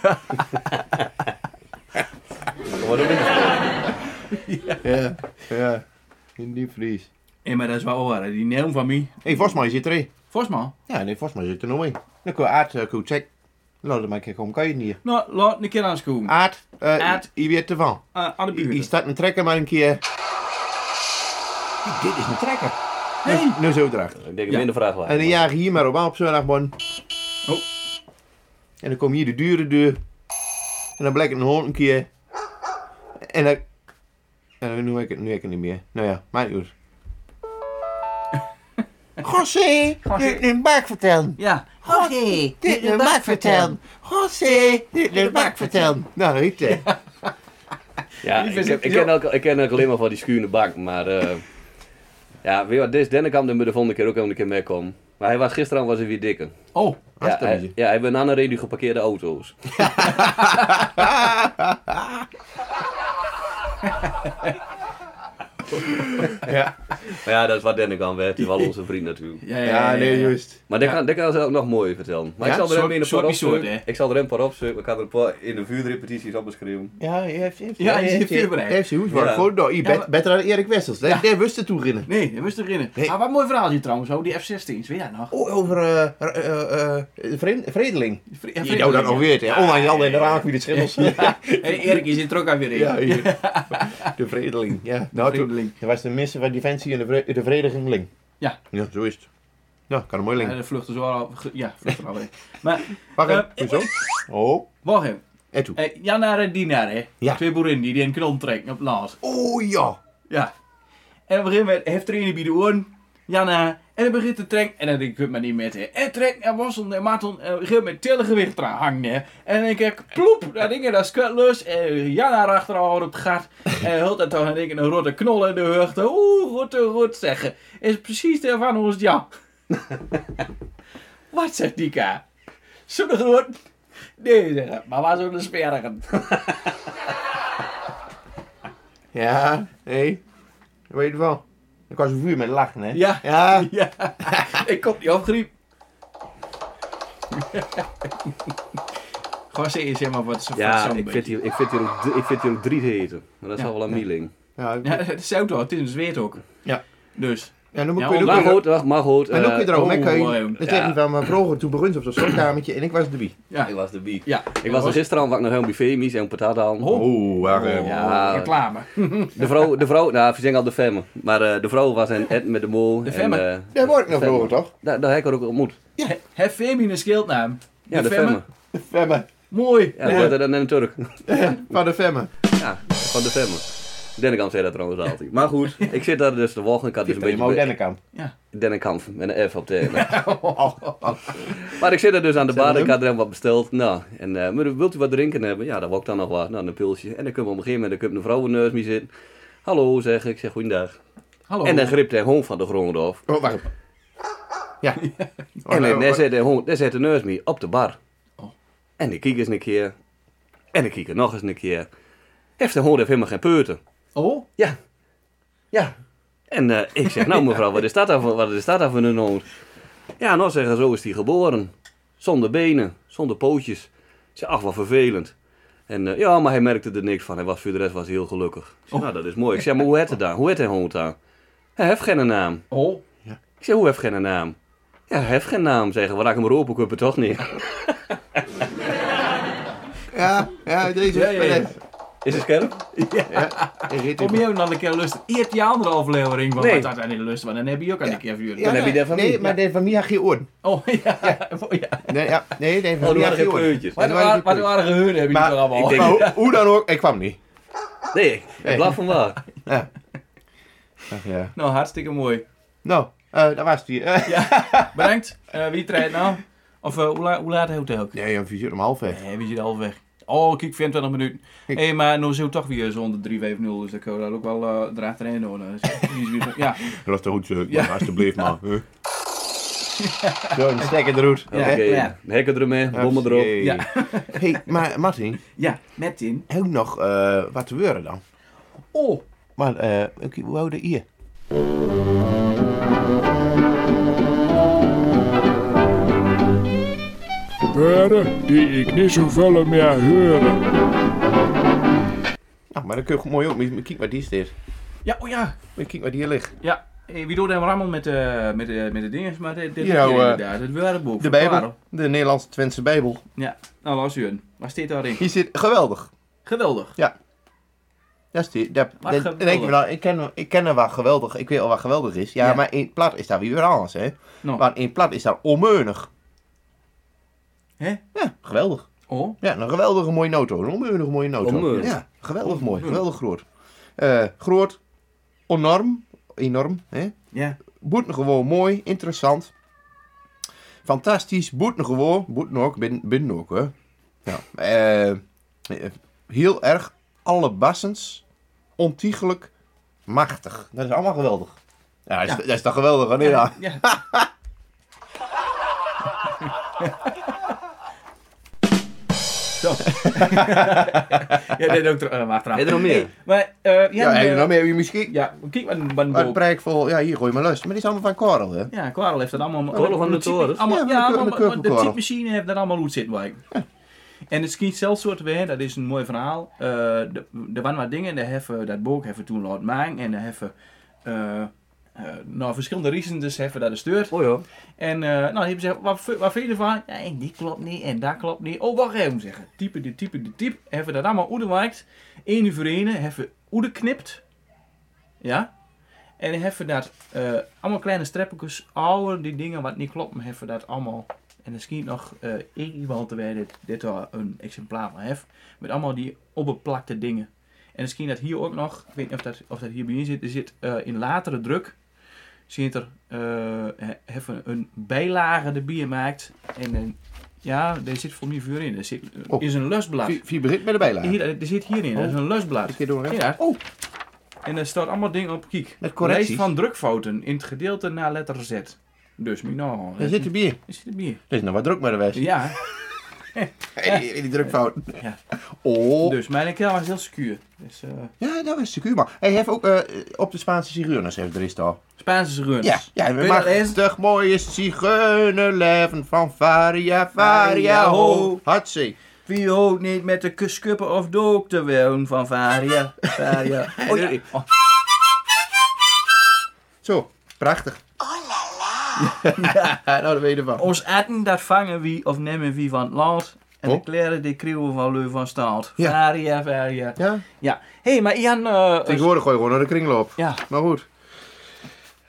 Speaker 4: Ja, ja. In diepvries.
Speaker 3: Ja, maar dat is wel waar. hè. Die neem van mij.
Speaker 4: Hé, hey, Vosma, je zit erin.
Speaker 3: Vosma.
Speaker 4: Ja, nee, Vosma zit er nog in. Dan kun je Aard uh, goed checken. Laat hem maar kijken, kom kan je het niet?
Speaker 3: Nou, laat een keer aanschoen.
Speaker 4: Aard, eh
Speaker 3: Aard.
Speaker 4: je weet ervan.
Speaker 3: Aan aan de
Speaker 4: Je je
Speaker 3: buurt.
Speaker 4: start een trekker maar een keer. Hey, dit is een trekker.
Speaker 3: Nee.
Speaker 4: Nu zo erachter.
Speaker 5: Ik denk
Speaker 3: Ja.
Speaker 5: een minder vraag
Speaker 4: En
Speaker 5: waard.
Speaker 4: dan jaag je hier maar op aan op zondagmorgen.
Speaker 3: Oh.
Speaker 4: En dan kom hier de dure deur. En dan blijkt het een hond een keer. En dan... En dan nu ik het, nu ik het niet meer. Nou ja, maakt niet uit. José, dit is een bak vertellen.
Speaker 3: Ja.
Speaker 4: José, dit is een bak vertellen. José, dit is een bak vertellen. Nou, dat heet het.
Speaker 5: Ja,
Speaker 3: Die
Speaker 5: ik,
Speaker 3: vind
Speaker 5: ken-
Speaker 3: ik-
Speaker 5: ik, ken ook, ik ken ook alleen maar van die schuurende bank, maar... eh, ja, weet je wat, dit is Dennekamp, die moet de volgende keer ook wel een keer meekomen. Maar hij was gisteravond was hij weer dikker.
Speaker 3: Oh.
Speaker 5: Ja,
Speaker 4: Hartstikke
Speaker 5: hij,
Speaker 4: lief.
Speaker 5: ja, hij ben aan een reden geparkeerde auto's.
Speaker 4: Ja.
Speaker 5: Maar ja, dat is wat Dennekamp werd. Die was onze vriend natuurlijk.
Speaker 3: Ja, ja,
Speaker 4: Ja, nee, juist.
Speaker 5: Maar dat kan, dat kan ze ook nog mooier vertellen. Maar
Speaker 4: Ja,
Speaker 5: ik zal er
Speaker 3: soort-
Speaker 5: even een
Speaker 3: soort
Speaker 5: paar
Speaker 3: niet soort,
Speaker 5: opzoeken. Ik zal er een paar opzoeken. Ik had er een paar in de vuurrepetities opgeschreven.
Speaker 4: Ja, je heeft, heeft,
Speaker 3: Ja, je
Speaker 4: heeft-
Speaker 3: zit
Speaker 4: heeft-
Speaker 3: voorbereid.
Speaker 4: Heeft je hoes waar
Speaker 5: Ja.
Speaker 4: voor door. Je
Speaker 3: Ja,
Speaker 4: bent
Speaker 3: maar-
Speaker 4: beter dan Erik Wessels. Dat dat wist het toen Rinne.
Speaker 3: Nee, dat moest erin.
Speaker 4: Nee.
Speaker 3: Ah, wat een mooi verhaal hier trouwens, oh, die F-16's. Weet jij nog?
Speaker 4: Oh, over eh eh, eh, vreem- Vredeling.
Speaker 3: Die vri-
Speaker 4: Je nou dat nog weer, hè? Online al in de raak wie de schimmels. Ja,
Speaker 3: Hey, Erik, je zit er ook aan weer in.
Speaker 4: hier. De Vredeling, ja. Nou,
Speaker 3: Vredeling.
Speaker 4: toen er was de missie van Defensie en de, vre de Vredeling.
Speaker 3: Ja.
Speaker 4: Ja, zo is het. Ja, kan een mooi
Speaker 3: Ja,
Speaker 4: link.
Speaker 3: de vluchten zo al. ge- Ja, vluchten al weg. Maar,
Speaker 4: Wacht
Speaker 3: eh,
Speaker 4: even, hoezo? Oh,
Speaker 3: wacht even.
Speaker 4: en toe.
Speaker 3: Hey, Janara en Dinara, hè?
Speaker 4: Ja.
Speaker 3: Twee boerinnen die die een knol trekken op Laas.
Speaker 4: Oh ja.
Speaker 3: Ja. En op een gegeven moment heeft er een bij de oren, Janna, en dan begint te trekken. En dan denk ik, het maar niet met, hè. En trek, en worstelt, en Marton, en op een gegeven moment tellen gewicht eraan hangen, hè. En dan denk ik, ploep, dat ding, dat squat los. En Janna achterhouden op het gat. En hult dat toch, en denk ik, een rotte knol in de hoogte. Oeh, goed, eh, goed zeggen. Is precies de van ons, ja. Wat zegt die ka? Zo'n groot. Nee, zeggen, maar waar zo'n sperrigen?
Speaker 4: Ja, hé. Weet je wel. Ik was een vuur met lachen, hè?
Speaker 3: Ja.
Speaker 4: Ja.
Speaker 3: Ja, ik kom niet op griep. Gewoon serieus, zeg maar wat ze
Speaker 5: Ja,
Speaker 3: zo'n
Speaker 5: ik vind,
Speaker 3: beetje.
Speaker 5: hier, ik, vind hier ook, ik vind hier ook drie te heten. Maar dat is
Speaker 3: Ja.
Speaker 5: al wel een mieling.
Speaker 4: Ja,
Speaker 3: Ja, het is ook toch, het is een zweet ook.
Speaker 4: Ja.
Speaker 3: Dus,
Speaker 4: ja, dan moet
Speaker 3: Ja,
Speaker 4: kun je
Speaker 5: Maar
Speaker 4: ook weer-
Speaker 5: goed, wacht, maar goed.
Speaker 4: En ook
Speaker 5: eh,
Speaker 4: weer erom, hè,
Speaker 3: oh,
Speaker 4: Kei?
Speaker 3: mooi,
Speaker 4: Dat
Speaker 5: ja.
Speaker 4: zeg ik van, maar vroeger toen begon ze op zo'n slotkamertje en ik was de wie.
Speaker 3: ja.
Speaker 5: Ik was de biek.
Speaker 3: ja.
Speaker 5: Ik was er gisteravond was ik nog helemaal bij Femies en patat aan.
Speaker 3: Ho.
Speaker 4: Oeh, waar... eh,
Speaker 5: Ja.
Speaker 3: reclame.
Speaker 5: De vrouw, de vrouw, nou, we zeggen al de femme. Maar eh, de vrouw was een Ed met de mol.
Speaker 3: De femme.
Speaker 5: En, eh,
Speaker 4: Daar word ik nog
Speaker 5: de
Speaker 4: vroeger,
Speaker 5: femme.
Speaker 4: toch?
Speaker 5: Daar, daar heb ik haar ook ontmoet.
Speaker 3: He- Hef Femi een schildnaam.
Speaker 5: Ja, de, femme.
Speaker 4: Femme.
Speaker 3: Mooi.
Speaker 5: Ja, beter dan een Turk.
Speaker 4: Van de Femme.
Speaker 5: Ja, van de femme. Dennekamp zei dat trouwens altijd. Maar goed, ik zit daar dus de volgende. Ik had dus een
Speaker 4: Van Mo
Speaker 5: beetje...
Speaker 4: Dennekamp.
Speaker 5: Dennekamp, met een F op de ene. Maar ik zit er dus aan de bar, ik had er hem wat besteld. Nou, en eh, maar wilt u wat drinken hebben? Ja, dan wou ik dan nog wat. Nou, een pilsje. En dan kunnen we op een gegeven moment, dan komt een vrouw neus mee zitten. Hallo, zeg ik. Ik zeg goedendag.
Speaker 3: Hallo.
Speaker 5: En eh, dan grip hij hond van de grond af.
Speaker 4: Oh, wacht. Ja.
Speaker 5: En dan
Speaker 4: net
Speaker 5: zet hij hond, dan zet de neus mee op de bar.
Speaker 3: Oh.
Speaker 5: En ik kijk eens een keer. En ik kijk er nog eens een keer. Heeft de hond heeft helemaal geen peuten.
Speaker 3: Oh,
Speaker 5: Ja. Ja. En eh, ik zeg, nou mevrouw, wat is dat dan voor, wat is dat dan voor een hond? Ja, nou zeggen ze, zo is hij geboren. Zonder benen, zonder pootjes. Ik zeg, ach, wat vervelend. En eh, ja, maar hij merkte er niks van. Hij was, voor de rest was hij heel gelukkig. Ik zeg, nou, dat is mooi. Ik zeg, maar hoe heet het dan? Hoe heet hij hond dan? Hij heeft geen naam.
Speaker 3: oh.
Speaker 5: Ik zeg, hoe heeft geen naam? Ja, hij heeft geen naam, zeggen we. Laat hem roepen, ik heb het toch niet.
Speaker 4: Ja, ja, deze.
Speaker 3: Ja, ja, ja.
Speaker 4: maar dat-
Speaker 5: Is het scherp?
Speaker 4: Ik reed
Speaker 3: Kom
Speaker 4: in-
Speaker 3: je ook nog een keer lust? Eert die andere aflevering, want
Speaker 5: Nee.
Speaker 3: dat had hij niet lust, want dan heb je ook al een keer vuur.
Speaker 4: Ja,
Speaker 5: Dan heb je
Speaker 4: nee,
Speaker 5: de familie.
Speaker 4: Nee, maar de familie had geen oren.
Speaker 3: Oh ja, oh, ja.
Speaker 4: Nee, ja, nee, de
Speaker 5: Oh, er
Speaker 4: familie had geen
Speaker 5: waren geen
Speaker 4: oren.
Speaker 5: peutjes.
Speaker 3: Wat,
Speaker 4: dan waren
Speaker 3: waar,
Speaker 4: die
Speaker 3: wat
Speaker 4: koeien.
Speaker 3: waren geheuren hebben jullie
Speaker 4: Maar-
Speaker 3: er allemaal?
Speaker 5: ik denk-
Speaker 4: Maar hoe, hoe dan ook, ik kwam niet.
Speaker 5: Nee, ik ik blaf van waar.
Speaker 4: Ja. Ach, ja.
Speaker 3: Nou, hartstikke mooi.
Speaker 4: Nou, eh dat was die. eh.
Speaker 3: Bedankt. Eh, wie treedt nou? Of eh, hoe, la hoe laat houdt hij ook?
Speaker 4: Nee, om vier uur om half vijf.
Speaker 3: Nee, we zijn al weg. Oh, kijk, 24 minuten. Hé, hey, maar nou zo toch weer zonder 3 5 0 dus dat kan dat ook wel eh erachterheen doen. hè. Dus die is weer- Ja,
Speaker 4: Dat is toch goed, zo,
Speaker 3: Ja.
Speaker 4: alsjeblieft, man. Huh. Zo, een stekker eruit.
Speaker 3: Ja.
Speaker 5: Oké,
Speaker 3: ja.
Speaker 5: hekken eh, ermee, bommen erop.
Speaker 4: Hé,
Speaker 3: Ja.
Speaker 4: hey, maar Martin,
Speaker 3: ja, met in.
Speaker 4: ook nog eh, wat te weuren dan.
Speaker 3: Oh,
Speaker 4: Maar, eh, ik- hoe houden hier?
Speaker 7: Beuren die ik niet zoveel meer horen.
Speaker 4: Nou, maar dan kun je ook mooi ook. Maar kijk waar die staat.
Speaker 3: ja, oh ja.
Speaker 4: Maar kijk waar die hier ligt.
Speaker 3: Ja, eh, wie doet hem rammel met, eh met, eh met de dingen? Maar dit, dit
Speaker 4: Ja,
Speaker 3: heb je
Speaker 4: eh,
Speaker 3: inderdaad, het werkboek.
Speaker 4: De
Speaker 3: Verklaren.
Speaker 4: Bijbel. De Nederlandse Twentse Bijbel.
Speaker 3: Ja, nou was u een. Waar staat daarin?
Speaker 4: Hier zit geweldig.
Speaker 3: Geweldig.
Speaker 4: Dat is die. Dat,
Speaker 3: Wat
Speaker 4: dat-
Speaker 3: geweldig.
Speaker 4: denk je wel, ik, ken, ik ken er waar geweldig. Ik weet al waar geweldig is. Ja,
Speaker 3: Ja.
Speaker 4: maar in plat is daar weer anders, hè?
Speaker 3: Nou.
Speaker 4: Oh. Maar in plat is daar onmeunig.
Speaker 3: Hè?
Speaker 4: Ja, geweldig.
Speaker 3: Oh,
Speaker 4: Ja, een geweldige mooie noto. Een onmeunige mooie noto.
Speaker 5: Onmeunig.
Speaker 4: Ja, geweldig mooi. Geweldig groot. Eh, groot. Enorm. Enorm, hè?
Speaker 3: ja.
Speaker 4: Boetengewoon mooi, interessant. Fantastisch, boetengewoon. Boeten ook, bin- binnen ook, hè. Ja. eh, eh, heel erg allebassens, ontiegelijk, machtig. Dat is allemaal geweldig. Ja, dat is, dat is toch geweldig, hè? Nee, ja.
Speaker 3: Ja. Zo. ja, dit ook ter- eh, maar
Speaker 5: Heb je
Speaker 3: achteraf.
Speaker 5: er nog meer?
Speaker 3: Maar, eh ja,
Speaker 4: Ja,
Speaker 3: eh,
Speaker 4: en dan heb je misschien...
Speaker 3: ja, kijk maar een- maar een
Speaker 4: Maar het
Speaker 3: boek.
Speaker 4: prijk vol, ja, hier gooi maar lust. Maar die is allemaal van korrel, hè?
Speaker 3: Ja, Quarel heeft dat allemaal...
Speaker 5: Korrel van de
Speaker 3: type-
Speaker 5: Torens.
Speaker 4: Ja,
Speaker 3: Allemaal,
Speaker 4: van
Speaker 3: ja,
Speaker 4: de- van de
Speaker 3: allemaal- de,
Speaker 4: Keukenkorrel.
Speaker 3: typemachine heeft dat allemaal goed zitten wij. En het schiet zelfsoort weer, dat is een mooi verhaal. Eh, de- er waren wat dingen, daar hebben, dat boek hebben we toen laten maken. En daar hebben eh, eh, nou, verschillende reasons hebben dat gestuurd.
Speaker 5: Oh ja.
Speaker 3: En eh, nou, die hebben gezegd, wat, v- wat vind je ervan? Ja, en die klopt niet en dat klopt niet. Oh, wacht even zeggen. Type, de type, de type. Hebben dat allemaal oedermaakt. Eén voor één hebben oederknipt. Ja. En dan hebben dat eh, allemaal kleine streppeltjes, oude die dingen wat niet kloppen, hebben dat allemaal. En er schiet nog eh, één iemand te wijden, dit daar een exemplaar van heeft, met allemaal die opgeplakte dingen. En misschien dat hier ook nog, ik weet niet of dat, of dat hier bij je zit, er zit eh, in latere druk, zit er eh, he- even een bijlage erbij maakt. En een- ja, daar zit voor mij vuur in. Er zit, er
Speaker 4: Oh.
Speaker 3: is een lusblad.
Speaker 4: Vier- Vier begint met de bijlage.
Speaker 3: Hier, er zit hierin, er is een lusblad.
Speaker 4: Een Oh, keer door, hè?
Speaker 3: Ja.
Speaker 4: Oh,
Speaker 3: En er staat allemaal dingen op kiek.
Speaker 4: Met correcties.
Speaker 3: Lijst van drukfouten in het gedeelte na letter Z. Dus Mino.
Speaker 4: daar zit de bier.
Speaker 3: Er zit een bier.
Speaker 4: Er is nog wat druk met de west.
Speaker 3: Ja,
Speaker 4: Hey, die, die drukfout.
Speaker 3: Ja.
Speaker 4: Oh.
Speaker 3: dus mijn keer was heel secuur. Dus, eh,
Speaker 4: Ja, dat was secuur, man. Hij heeft ook eh, op de Spaanse zigeuners heeft er is al.
Speaker 3: Spaanse runs.
Speaker 4: Ja, ja,
Speaker 3: Kun
Speaker 4: we
Speaker 3: je dat lezen?
Speaker 4: machtig mooie zigeunerleven van Varia, Varia, ho.
Speaker 3: ho.
Speaker 4: Hatsé.
Speaker 3: Wie hoopt niet met de kuskuppen of dook te wonen van Varia? Varia. Oh ja. Oh,
Speaker 4: Zo, prachtig. Oh la la. nou, daar weet je ervan.
Speaker 3: ons atten dat vangen wie of nemen wie van het land. En de
Speaker 4: Oh.
Speaker 3: kleren die krieuwen van Leu van Staat.
Speaker 4: Ja.
Speaker 3: Varia, Varia.
Speaker 4: Ja,
Speaker 3: Ja. Hé, hey, maar Ian... eh,
Speaker 4: tegenwoordig gooi je gewoon naar de kringloop.
Speaker 3: ja.
Speaker 4: Maar goed.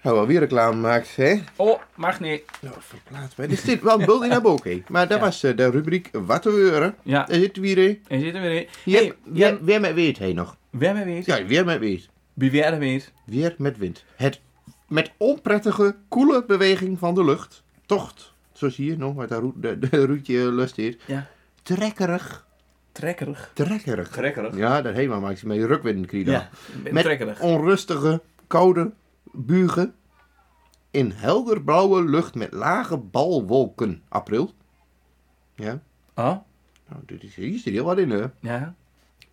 Speaker 4: Nou, wel weer reclame maakt, hè?
Speaker 3: Oh, mag niet.
Speaker 4: Nou, verplaatst mij. Dit zit wel een building naar boven, Maar dat
Speaker 3: Ja.
Speaker 4: was eh, de rubriek Wat te weuren.
Speaker 3: Ja,
Speaker 4: Daar zit weer in.
Speaker 3: en zitten we weer in.
Speaker 4: Ja,
Speaker 3: Hey,
Speaker 4: weer,
Speaker 3: Jan-
Speaker 4: weer met wind heen nog.
Speaker 3: Weer met weet.
Speaker 4: Ja, weer met wind.
Speaker 3: Beweer weet.
Speaker 4: Weer met wind. Het met onprettige, koele beweging van de lucht. Tocht. Zo zie je nog wat dat roet- de, de roetje lust hier.
Speaker 3: Ja.
Speaker 4: Trekkerig.
Speaker 3: Trekkerig.
Speaker 4: Trekkerig.
Speaker 3: Trekkerig.
Speaker 4: Ja, dat helemaal maakt ze mee. Rukwind kreeg je dan.
Speaker 3: Ja, met trekkerig.
Speaker 4: onrustige, koude bugen. In helderblauwe lucht met lage balwolken. April. Ja.
Speaker 3: Oh,
Speaker 4: Nou, dit is, hier zit heel wat in, hè.
Speaker 3: ja.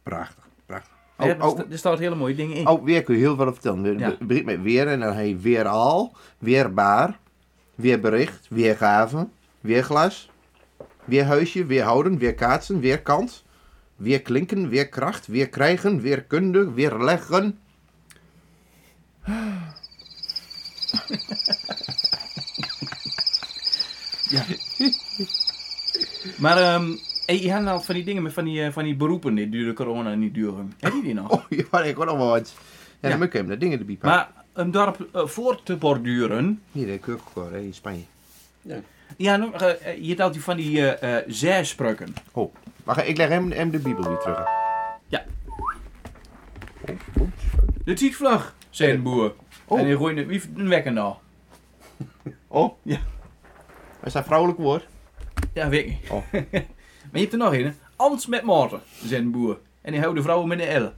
Speaker 4: Prachtig. Prachtig.
Speaker 3: Ja,
Speaker 4: Oh,
Speaker 3: er
Speaker 4: oh,
Speaker 3: sta- er staat hele mooie dingen in.
Speaker 4: Oh, weer kun je heel veel vertellen. Het
Speaker 3: Ja.
Speaker 4: be- begint met weer en dan hij weer al, weerbaar, weerbericht, weergave, weerglas, weerhuisje, weerhouden, weerkaatsen, weerkant, weerklinken, weerkracht, weerkrijgen, weerkunde, weerleggen.
Speaker 3: Maar ehm, Hey, je had nou van die dingen met van die, eh, van die beroepen die door de corona niet duren. Heb je die nog?
Speaker 4: Oh, ja, ik hoor nog wel wat. Ja,
Speaker 3: Ja.
Speaker 4: dan moet ik hem dat dingen erbij pakken.
Speaker 3: Maar om daarop eh, voor te borduren,
Speaker 4: Hier, de kurkkoor, hè, in Spanje.
Speaker 3: ja, nou, eh, eh, je had die van die eh eh zijspreuken.
Speaker 4: Oh, wacht, ik leg hem, hem de Bijbel weer terug.
Speaker 3: De ziet vlug, zei de boer.
Speaker 4: Oh.
Speaker 3: En die gooide wie een wekker nou.
Speaker 4: Oh?
Speaker 3: Ja.
Speaker 4: Is dat vrouwelijk woord?
Speaker 3: Ja, weet ik niet.
Speaker 4: Oh.
Speaker 3: maar je hebt er nog een, hè? Ans met Maarten, zei de boer. En die houdt de vrouwen met een L.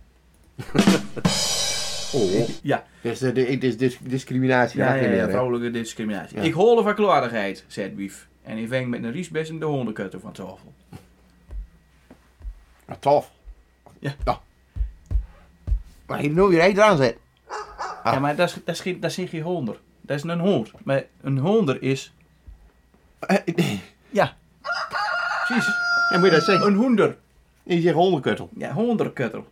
Speaker 4: Oh.
Speaker 3: Ja.
Speaker 4: Dus eh, de- dit is dis- discriminatie. daar geen leren.
Speaker 3: vrouwelijke discriminatie.
Speaker 4: Ja.
Speaker 3: Ik hoor de verklaardigheid, zei het wief. En hij ving met een riesbes de hondenkutter van tafel.
Speaker 4: Nou, tof.
Speaker 3: Ja.
Speaker 4: Nou. Maar je moet je rijder aan zet. Ah.
Speaker 3: Ja, maar dat, is- dat, is geen- dat zijn geen honder. Dat is een hond. Maar een honder is...
Speaker 4: Eh,
Speaker 3: Ja. Precies.
Speaker 4: Ja, moet je dat zeggen?
Speaker 3: Een hoender.
Speaker 4: Je zegt hondenkuttel.
Speaker 3: Ja, honderkutter.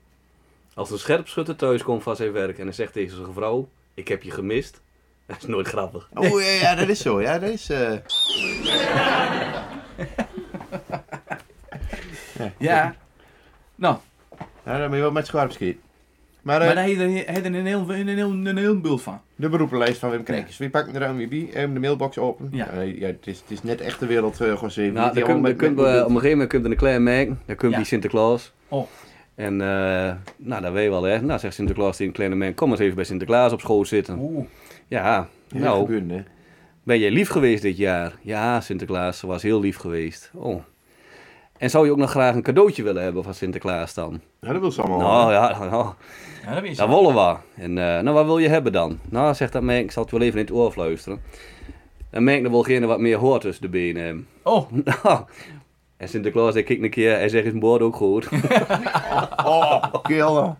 Speaker 5: Als een scherpschutter thuis komt van zijn werk en hij zegt tegen zijn vrouw: Ik heb je gemist. Dat is nooit grappig.
Speaker 4: Oh ja, ja, dat is zo. Ja, dat is... eh,
Speaker 3: Ja. Nou,
Speaker 4: Eh. Ja, dan ben je wel met scherpschiet. Maar, eh,
Speaker 3: maar daar heb je er- heb je er een heel, een heel, een heel bult van.
Speaker 4: de beroepenlijst van Wim Krijkers. Wie pakt er aan wie bij? Even de mailbox open.
Speaker 3: Ja.
Speaker 4: nee, ja het, is, het is net echt de wereld, eh José. Niet
Speaker 5: Nou,
Speaker 4: helemaal
Speaker 5: dan kun, dan
Speaker 4: met-
Speaker 5: kun,
Speaker 4: met-
Speaker 5: we- op een gegeven moment kunt er een klein merk, dan komt
Speaker 3: Ja.
Speaker 5: die Sinterklaas.
Speaker 3: Oh.
Speaker 5: En eh, nou, dat weet je wel, hè. Nou, zegt Sinterklaas tegen een kleine merk: Kom eens even bij Sinterklaas op schoot zitten.
Speaker 3: Oeh.
Speaker 5: Ja,
Speaker 4: Ja,
Speaker 5: nou,
Speaker 4: gebeuren, hè.
Speaker 5: Ben jij lief geweest dit jaar? Ja, Sinterklaas, ze was heel lief geweest. Oh. En zou je ook nog graag een cadeautje willen hebben van Sinterklaas dan?
Speaker 4: Ja, dat wil ze allemaal.
Speaker 5: Nou ja, nou,
Speaker 3: Ja, dat is
Speaker 5: dat willen we. En eh, nou, wat wil je hebben dan? Nou, zegt dat merk, ik zal het wel even in het oor fluisteren. Dan merk dat welgene wat meer hoort tussen de benen.
Speaker 3: Oh,
Speaker 5: Nou, en Sinterklaas, hij kijkt een keer, hij zegt, is mijn bord ook goed?
Speaker 4: Oh, kill.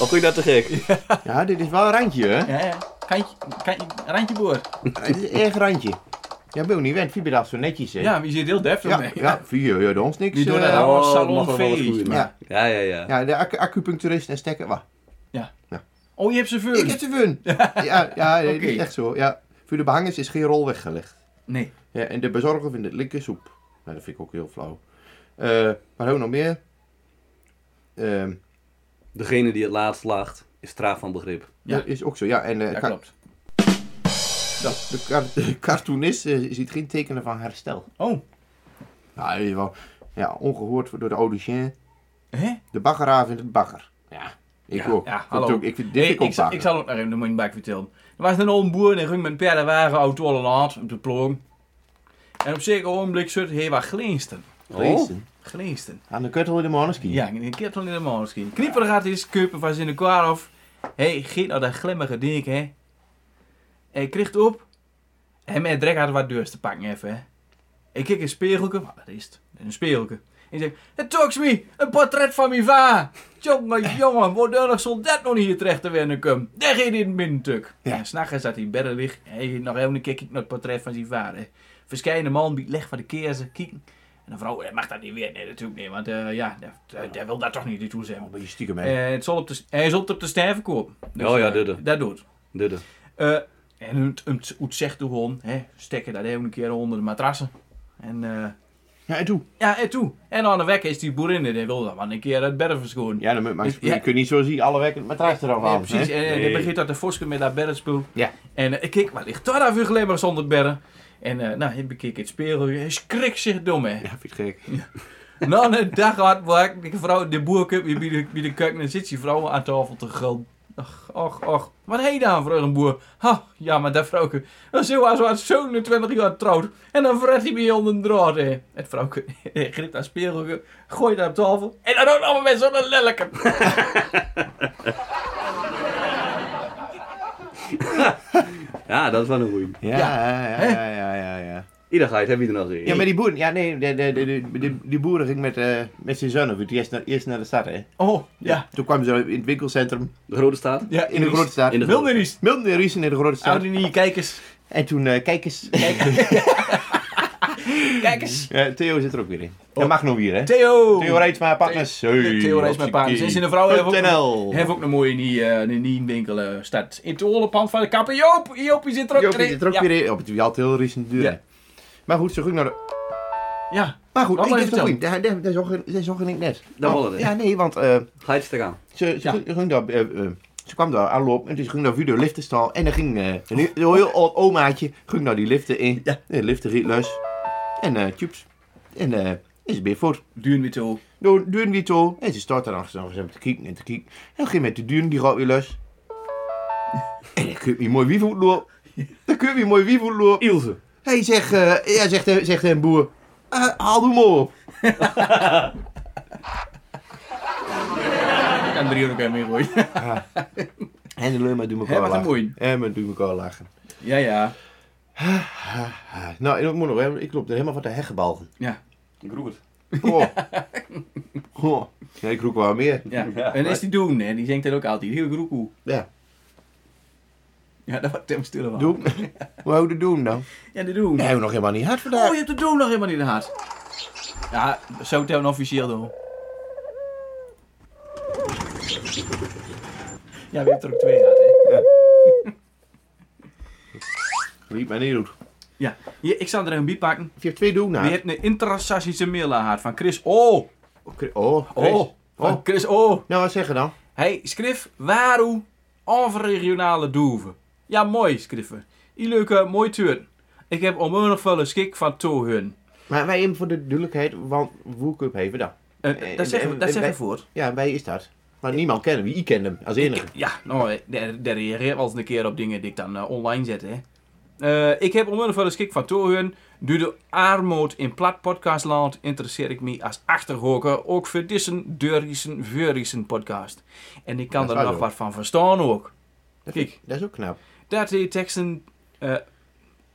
Speaker 5: Of goed dat te gek?
Speaker 4: Ja, dit is wel een randje, hè?
Speaker 3: ja, ja. Kantje, kantje, randje boer.
Speaker 4: Het is echt een randje. Ja, ben je ook niet wend. Wie bedacht zo netjes, hè?
Speaker 3: Ja, wie zit heel deftig
Speaker 4: ja,
Speaker 3: mee.
Speaker 4: ja, vier, ja, de ons niks.
Speaker 3: Die doen
Speaker 4: eh,
Speaker 3: dat allemaal.
Speaker 5: dat
Speaker 3: salon
Speaker 5: Oh, mag wel wat
Speaker 3: feest,
Speaker 5: goeie
Speaker 4: maar-
Speaker 5: maken. Ja, ja, ja.
Speaker 4: ja, de ac- acupuncturist en stekker. Wacht.
Speaker 3: Oh, je hebt ze
Speaker 4: Ik
Speaker 3: veul.
Speaker 4: heb ze wun. Ja, ja dit is
Speaker 3: Oké.
Speaker 4: echt zo. Ja. Voor de behangers is geen rol weggelegd.
Speaker 3: Nee.
Speaker 4: Ja, en de bezorger vindt het linker soep. Nou, dat vind ik ook heel flauw. Eh maar ook nog meer. Ehm,
Speaker 5: Degene die het laatst lacht, is traag van begrip.
Speaker 3: Ja.
Speaker 4: Dat is ook zo, ja. En eh,
Speaker 3: Ja,
Speaker 4: ka-
Speaker 3: klopt.
Speaker 4: de, kar- de cartoonist eh, ziet geen tekenen van herstel.
Speaker 3: Oh,
Speaker 4: Ja, dat is wel, ja ongehoord voor- door de audicien.
Speaker 3: hè?
Speaker 4: De baggeraar vindt het bagger. Ja, ik ook.
Speaker 3: ja,
Speaker 4: Dat
Speaker 3: hallo.
Speaker 4: Ook, ik vind dit
Speaker 3: Hey,
Speaker 4: vind ik ook
Speaker 3: ik, zal,
Speaker 4: bagger.
Speaker 3: ik zal ook nog even de moeilijkheid vertellen. Er was een oom boer en die ging met een paardenwagen auto alle laat op de ploom. En op zeker ogenblik zult hij wat glinsten.
Speaker 5: Oh,
Speaker 4: Lezen.
Speaker 3: Glinsten.
Speaker 4: Aan de kuttel in de maneschijn.
Speaker 3: Ja, ik heb het in de man misschien. Knipper gaat eens kuipen van zijn kwaar af. Hé, geet nou dat glimmige dik, hè. Hij kriegt op. En mijn drek had wat deurs te pakken even, hè. Ik kijk in een spegelke. Wat is het? Een spegelke. En ik zeg, het talks me, een portret van mijn va. Jongen, jongen, wordt er nog soldaat nog niet hier terecht te wennen komen. Daar ging hij in het mintuk.
Speaker 4: Ja.
Speaker 3: En s'nachts zat hij in bedden ligt. Hij ging nog even kijken naar het portret van zijn vader. Verschijnen man, biedt leg van de keersen, kieken. En een vrouw, eh, mag dat niet weer? Nee, natuurlijk niet, want eh, ja, dat- dat- dat wil daar toch niet naartoe zijn.
Speaker 4: Een beetje stiekem mee.
Speaker 3: Eh, het zal op de, hij zal het op de stijve kopen.
Speaker 5: Oh ja,
Speaker 3: eh,
Speaker 5: dit, dit.
Speaker 3: dat doet.
Speaker 5: dudde.
Speaker 3: Eh, en het, het, het zegt de hond, hè, stekken dat even een keer onder de matrassen. En eh,
Speaker 4: ja, en toe.
Speaker 3: ja, en toe. En aan de weg is die boerin, en die wil dat wel een keer uit bedden verschonen.
Speaker 4: Ja, dan moet, maar
Speaker 3: Dus-
Speaker 4: je
Speaker 3: ja.
Speaker 4: kunt niet zo zien, alle werken het matras eraf
Speaker 3: Ja,
Speaker 4: halen,
Speaker 3: precies.
Speaker 4: hè?
Speaker 3: En eh,
Speaker 5: Nee.
Speaker 3: die begint dat te fosken met dat beddenspul.
Speaker 4: Ja.
Speaker 3: En eh, ik kijk, wat ligt daar nou glimmer zonder bedden? En eh, nou, ik bekijk het spiegel, hij schrik zich dom, hè.
Speaker 4: Ja, vind ik gek.
Speaker 3: Nou, een dag hard werk. Die vrouw, de boer komt weer bij de, bij de keuken en zit die vrouw aan tafel te gulden. Ach, ach, ach. Wat heet dan, vroeg een boer? Ha, ja, maar dat vrouwke. Dat is heel als wat zo'n 20 jaar trouwt. En dan vret hij bij onder een draad, hè. Het vrouwke gript haar speelgoed, gooit haar op tafel. En dan ook nog maar met zo'n lelijke.
Speaker 5: Ja, dat is wel een goeie.
Speaker 4: Ja, ja, ja, ja, ja, ja, ja.
Speaker 5: Ieder gaat, heb je er nou nog een?
Speaker 4: Ja, maar die boeren, ja nee, de, de, de, de- de- die boeren ging met, eh, met zijn zoon, want die eerst naar, eerst naar de stad, hè.
Speaker 3: Oh, ja.
Speaker 4: Toen kwamen ze in het winkelcentrum,
Speaker 5: De grote staat?
Speaker 3: Ja,
Speaker 4: in de grote stad.
Speaker 5: in de-
Speaker 3: Wilde niet.
Speaker 4: Milton en Riesen in de grote stad.
Speaker 3: Houden niet, kijk eens.
Speaker 4: En toen, eh, kijk eens,
Speaker 3: Kijk eens.
Speaker 4: Ja, Theo zit er ook weer in. Dat mag nog weer, hè.
Speaker 3: Theo.
Speaker 4: Oh. Theo Rijtsma, partners. Hey,
Speaker 3: Theo Rijtsma,
Speaker 4: hopsakee.
Speaker 3: partners. En zijn vrouw heeft ook-
Speaker 4: .nl.
Speaker 3: Heb ook een mooie nie, eh, die nie-winkel eh, staat. In het oorlogenpand van de kapper. Joop, Joopie zit er ook
Speaker 4: Jopie
Speaker 3: in.
Speaker 4: zit er ook Oh,
Speaker 3: Ja.
Speaker 4: weer in. Op het had heel Riesen duur.
Speaker 3: Ja.
Speaker 4: Maar goed, ze ging naar de...
Speaker 3: Ja,
Speaker 4: Maar goed,
Speaker 3: Wat
Speaker 4: ik
Speaker 3: wil je
Speaker 4: heb het goed. Daar, daar, daar zag- daar zag ik net.
Speaker 5: Daar
Speaker 4: Want-
Speaker 5: wilde ik.
Speaker 4: Ja, nee, want eh,
Speaker 5: Ga je het te gaan?
Speaker 4: ze, ze,
Speaker 3: Ja.
Speaker 4: ging- ging daar, eh, eh, ze kwam daar aanlopen en toen ging daar weer de liftenstal. En dan ging eh, een heel- een heel oud omaatje ging naar die liften in.
Speaker 3: Ja.
Speaker 4: De liften riet los. En eh tjoeps. En eh, is het weer voort.
Speaker 3: duur weer toe.
Speaker 4: Door duurde die toe. En ze stond daar dan zo zo te kijken en te kijken. En ging met de duren die gaat weer los. En dan kun je mooi wievoet lopen. Dan kun je mooi wievoet lopen.
Speaker 5: Ilse.
Speaker 4: Hij zegt, eh, ja, zegt, eh, zegt een boer, eh, haal hem op.
Speaker 3: Ik kan er hier ook even mee gooien.
Speaker 4: En de leuma doet
Speaker 3: Hè,
Speaker 4: elkaar
Speaker 3: wat een moeien.
Speaker 4: lachen. En men doet elkaar lachen.
Speaker 3: Ja, ja.
Speaker 4: Ah, Nou, ik moet nog, hè, ik loop er helemaal van de heggenbalgen.
Speaker 3: Ja.
Speaker 5: Ik roep het.
Speaker 4: Oh. oh. Ja, ik roek wel meer.
Speaker 3: ja. en is die doen, hè? Die zingt dat ook altijd. Heel groekoe.
Speaker 4: Ja,
Speaker 3: Ja, dat wordt hem stil van.
Speaker 4: doen. Hoe houden we doen dan?
Speaker 3: Ja, de doen.
Speaker 4: Nee, we hebben nog helemaal niet hard
Speaker 3: Oh,
Speaker 4: vandaag.
Speaker 3: je hebt de doen nog helemaal niet gehad. Ja, zo het officieel doen. Ja, we hebben er ook twee gehad, hè?
Speaker 4: Liep mij niet goed.
Speaker 3: Ja. Hier, ik zal er een biep pakken.
Speaker 4: Je hebt twee doen
Speaker 3: We
Speaker 4: nou.
Speaker 3: hebben een intersassische mail gehad van Chris O.
Speaker 4: Oh, Chris.
Speaker 3: Oh. Van Chris O.
Speaker 4: Nou, wat zeggen dan?
Speaker 3: Hij schreef waarom overregionale doeven. Ja, mooi schreven. Die leuke, mooi tuur. Ik heb onmogelijk veel schik van toehun.
Speaker 4: Maar wij hebben voor de duidelijkheid, want Woelcup heeft we dan.
Speaker 3: Eh, dat zeggen we, dat zeggen we voor.
Speaker 4: Ja, wij is dat. Maar niemand kent hem, wie ik kent hem als enige.
Speaker 3: Ja, nou, eh, daar, daar reageer ik wel eens een keer op dingen die ik dan eh, online zet, hè. Eh, ik heb omwille van de schik van Toorhun, door de armoed in plat podcastland interesseer ik me als achterhoker ook voor deze deurissen, veurissen podcast. En ik kan
Speaker 4: Dat
Speaker 3: er
Speaker 4: is
Speaker 3: nog
Speaker 4: waar,
Speaker 3: wat van verstaan ook.
Speaker 4: Dat,
Speaker 3: Kijk.
Speaker 4: vind- dat is ook knap.
Speaker 3: Dat die teksten... eh,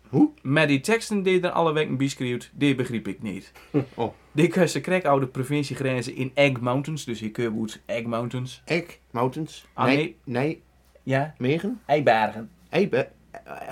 Speaker 4: Hoe?
Speaker 3: Met die teksten die er alle weken bij schreeuwt, die begreep ik niet.
Speaker 4: oh.
Speaker 3: Die kussen krijg oude provinciegrenzen in Egg Mountains, dus hier kun je goed Egg Mountains.
Speaker 4: Ek, Mountains.
Speaker 3: Ah, nee.
Speaker 4: Nee,
Speaker 3: Ja,
Speaker 4: Nijmegen?
Speaker 3: Eibergen.
Speaker 4: Eibe-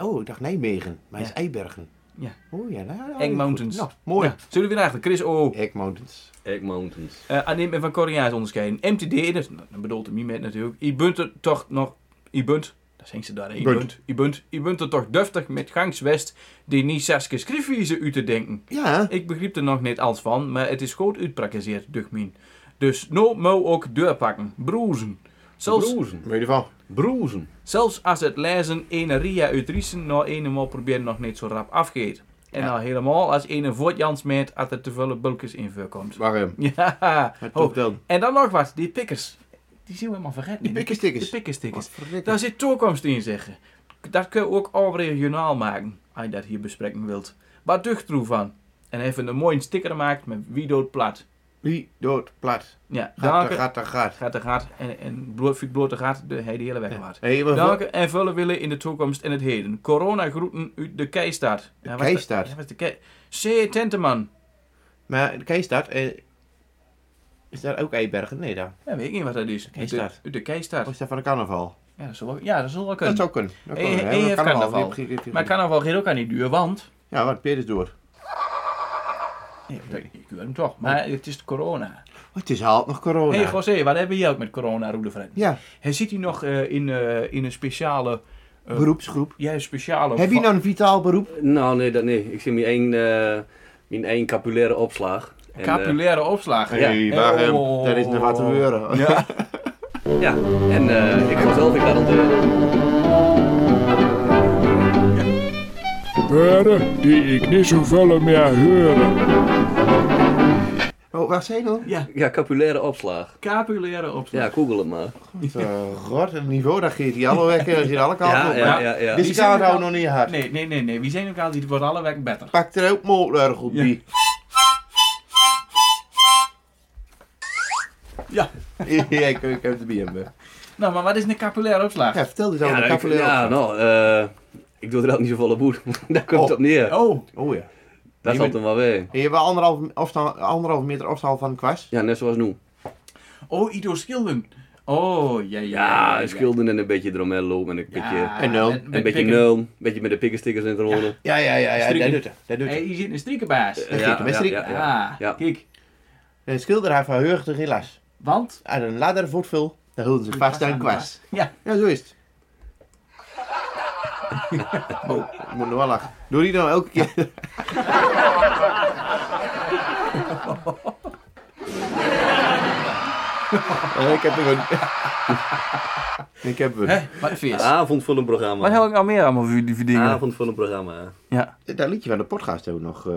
Speaker 4: Oh, ik dacht Nijmegen. Maar het is
Speaker 3: Ja.
Speaker 4: Eibergen.
Speaker 3: Ja.
Speaker 4: Oh ja, nou, nou,
Speaker 3: Egg
Speaker 4: goed.
Speaker 3: Mountains.
Speaker 4: Nou, mooi.
Speaker 3: Ja, zullen we weer eigenlijk, Chris O.
Speaker 4: Egg Mountains.
Speaker 5: Egg Mountains.
Speaker 3: Eh, aan neem en van Koreaans onderscheiden. MTD, dus, nou, dat bedoelt hem niet met natuurlijk. Je bent er toch nog. Je bent, dat zijn ze daar. Je
Speaker 4: Bunt.
Speaker 3: bent, je bent, je bent er toch duftig met gangs West die niet zes keer schriftwijze u te denken.
Speaker 4: Ja,
Speaker 3: Ik begreep er nog niet alles van, maar het is goed uitprakkezeerd, dugmin. Dus nou moet ook deurpakken, broezen. Zelfs,
Speaker 5: Broezen.
Speaker 4: in ieder geval.
Speaker 5: Broezen.
Speaker 3: zelfs als het lezen ene Ria uit Riesen nou eenmaal proberen nog niet zo rap afgeet. En nou helemaal als ene voortjansmeid als er te veel bulkjes in voorkomt.
Speaker 4: Maar ehm,
Speaker 3: Ja,
Speaker 4: het
Speaker 3: oh,
Speaker 4: klopt dan.
Speaker 3: en dan nog wat, die pikkers. Die zien we helemaal vergeten.
Speaker 4: Die
Speaker 3: De
Speaker 4: pikkerstikkers.
Speaker 3: pikkerstikkers.
Speaker 4: Verdikke.
Speaker 3: Daar zit toekomst in, zeggen. Dat kun je ook al regionaal maken, als je dat hier bespreken wilt. Wat ducht er van? En even een mooie sticker gemaakt met wie dood plat.
Speaker 4: Wie dood plat.
Speaker 3: Ja,
Speaker 4: Gaat, er
Speaker 3: danken.
Speaker 4: gaat, er gaat.
Speaker 3: Gaat er gaat en, en bloot, fiet blote gaat de, hij de hele weg waard.
Speaker 4: Hey, maar voor-
Speaker 3: Danken en vullen willen in de toekomst en het heden. Corona groeten uit de keistaat. De
Speaker 4: Keistaat?
Speaker 3: Ja, was de kei... C. Tenteman.
Speaker 4: maar de Keistaat, eh, is daar ook Eibergen? Nee, daar.
Speaker 3: Ja, weet ik niet wat dat is.
Speaker 4: Keistaat.
Speaker 3: Uit de, uit de
Speaker 4: Of
Speaker 3: keistaat.
Speaker 4: is dat van de carnaval?
Speaker 3: Ja, dat zal wel, ja, dat zal wel kunnen.
Speaker 4: Oh. Dat zou kunnen. Dat
Speaker 3: Eh,
Speaker 4: kan,
Speaker 3: eh,
Speaker 4: hè,
Speaker 3: eh,
Speaker 4: maar
Speaker 3: heeft carnaval.
Speaker 4: die- die- die-
Speaker 3: Maar carnaval gaat ook aan die duur, want...
Speaker 4: Ja, wat Peer is Oh, door.
Speaker 3: Ik ik wil hem toch, maar het is corona.
Speaker 4: Oh, het is haalt nog corona.
Speaker 3: Hé hey José, wat hebben we hier ook met corona, Roede Fred?
Speaker 4: ja,
Speaker 3: Hij zit hier nog eh, in, eh, in een speciale... eh,
Speaker 4: beroepsgroep.
Speaker 3: Ja, een speciale...
Speaker 4: Heb je
Speaker 3: va-
Speaker 4: nou een vitaal beroep?
Speaker 5: Nou, nee, dat nee. Ik zie mijn één, eh, mijn één capulaire opslag. En, eh,
Speaker 3: Capulaire opslag.
Speaker 5: Ja.
Speaker 4: hey, maar ehm,
Speaker 3: Oh.
Speaker 4: daar is nog wat te gebeuren.
Speaker 3: Ja.
Speaker 5: ja, en eh, ik was zelf ik eh, daar aan de...
Speaker 7: Beren die ik niet zo veel meer horen.
Speaker 4: Oh, waar zijn we?
Speaker 3: ja,
Speaker 5: Ja, capulaire opslag.
Speaker 3: capulaire opslag.
Speaker 5: Ja, google het maar.
Speaker 4: Eh, God, het niveau, daar geeft hij alle wekken, daar zit alle kanten
Speaker 5: Ja,
Speaker 4: op. Ja,
Speaker 5: ja, ja.
Speaker 4: Dit
Speaker 5: ja.
Speaker 3: Die
Speaker 4: is
Speaker 3: zijn
Speaker 4: kaart
Speaker 3: er
Speaker 4: houdt
Speaker 3: al-
Speaker 4: nog niet hard.
Speaker 3: Nee, nee, nee, nee. Wie zijn ook al, die wordt alle weg beter.
Speaker 4: Pak er ook motor op
Speaker 3: Ja.
Speaker 4: die.
Speaker 3: Ja.
Speaker 4: ja, ik, ik heb de BMW.
Speaker 3: Nou, maar wat is een capulaire opslag?
Speaker 4: Ja, vertel dit
Speaker 5: Ja,
Speaker 4: over de
Speaker 5: nou, ik,
Speaker 4: kapulaire
Speaker 5: ja,
Speaker 4: opslag.
Speaker 5: nou, eh, ik doe er ook niet zo volle boet. daar komt het op neer.
Speaker 3: Oh,
Speaker 4: Oh ja.
Speaker 5: dat
Speaker 4: je
Speaker 5: zat
Speaker 4: bent-
Speaker 5: hem wel weer.
Speaker 4: En je hebt wel anderhalf, afstand, anderhalf meter afstand van de kwast.
Speaker 5: Ja, net zoals nu.
Speaker 3: oh, Ido Schilden. Oh, ja, ja.
Speaker 5: Ja, schilderen en een beetje eromheen lopen en een beetje,
Speaker 3: Ja,
Speaker 5: en
Speaker 4: En nul.
Speaker 5: nou,
Speaker 3: met- met
Speaker 5: een beetje
Speaker 3: pikken.
Speaker 5: nul. Een beetje met de pikkenstickers in te rollen.
Speaker 4: Ja, ja, ja, ja
Speaker 3: Strikken.
Speaker 4: dat doet hij. Dat doet
Speaker 3: Hé,
Speaker 4: hij.
Speaker 3: hier zit een striekenbaas.
Speaker 5: Ja,
Speaker 4: geeft hem best rik.
Speaker 5: ja, ja.
Speaker 3: Ah, kijk.
Speaker 4: De schilder heeft verheugd de helaas.
Speaker 3: Want...
Speaker 4: Aan een ladder voortvul, daar hielden ze vast aan een kwast.
Speaker 3: Ja.
Speaker 4: Ja, zo is het. Oh, ik moet nog wel lachen. Doe die dan elke keer. Oh, ik heb er een. ik heb er een.
Speaker 3: Wat vis.
Speaker 5: Avond voor een programma.
Speaker 3: Ah. Wat heb ik nou meer allemaal voor die voor dingen?
Speaker 5: Avond voor een programma.
Speaker 3: Ja.
Speaker 4: Dat liedje van de podcast ook nog. eh,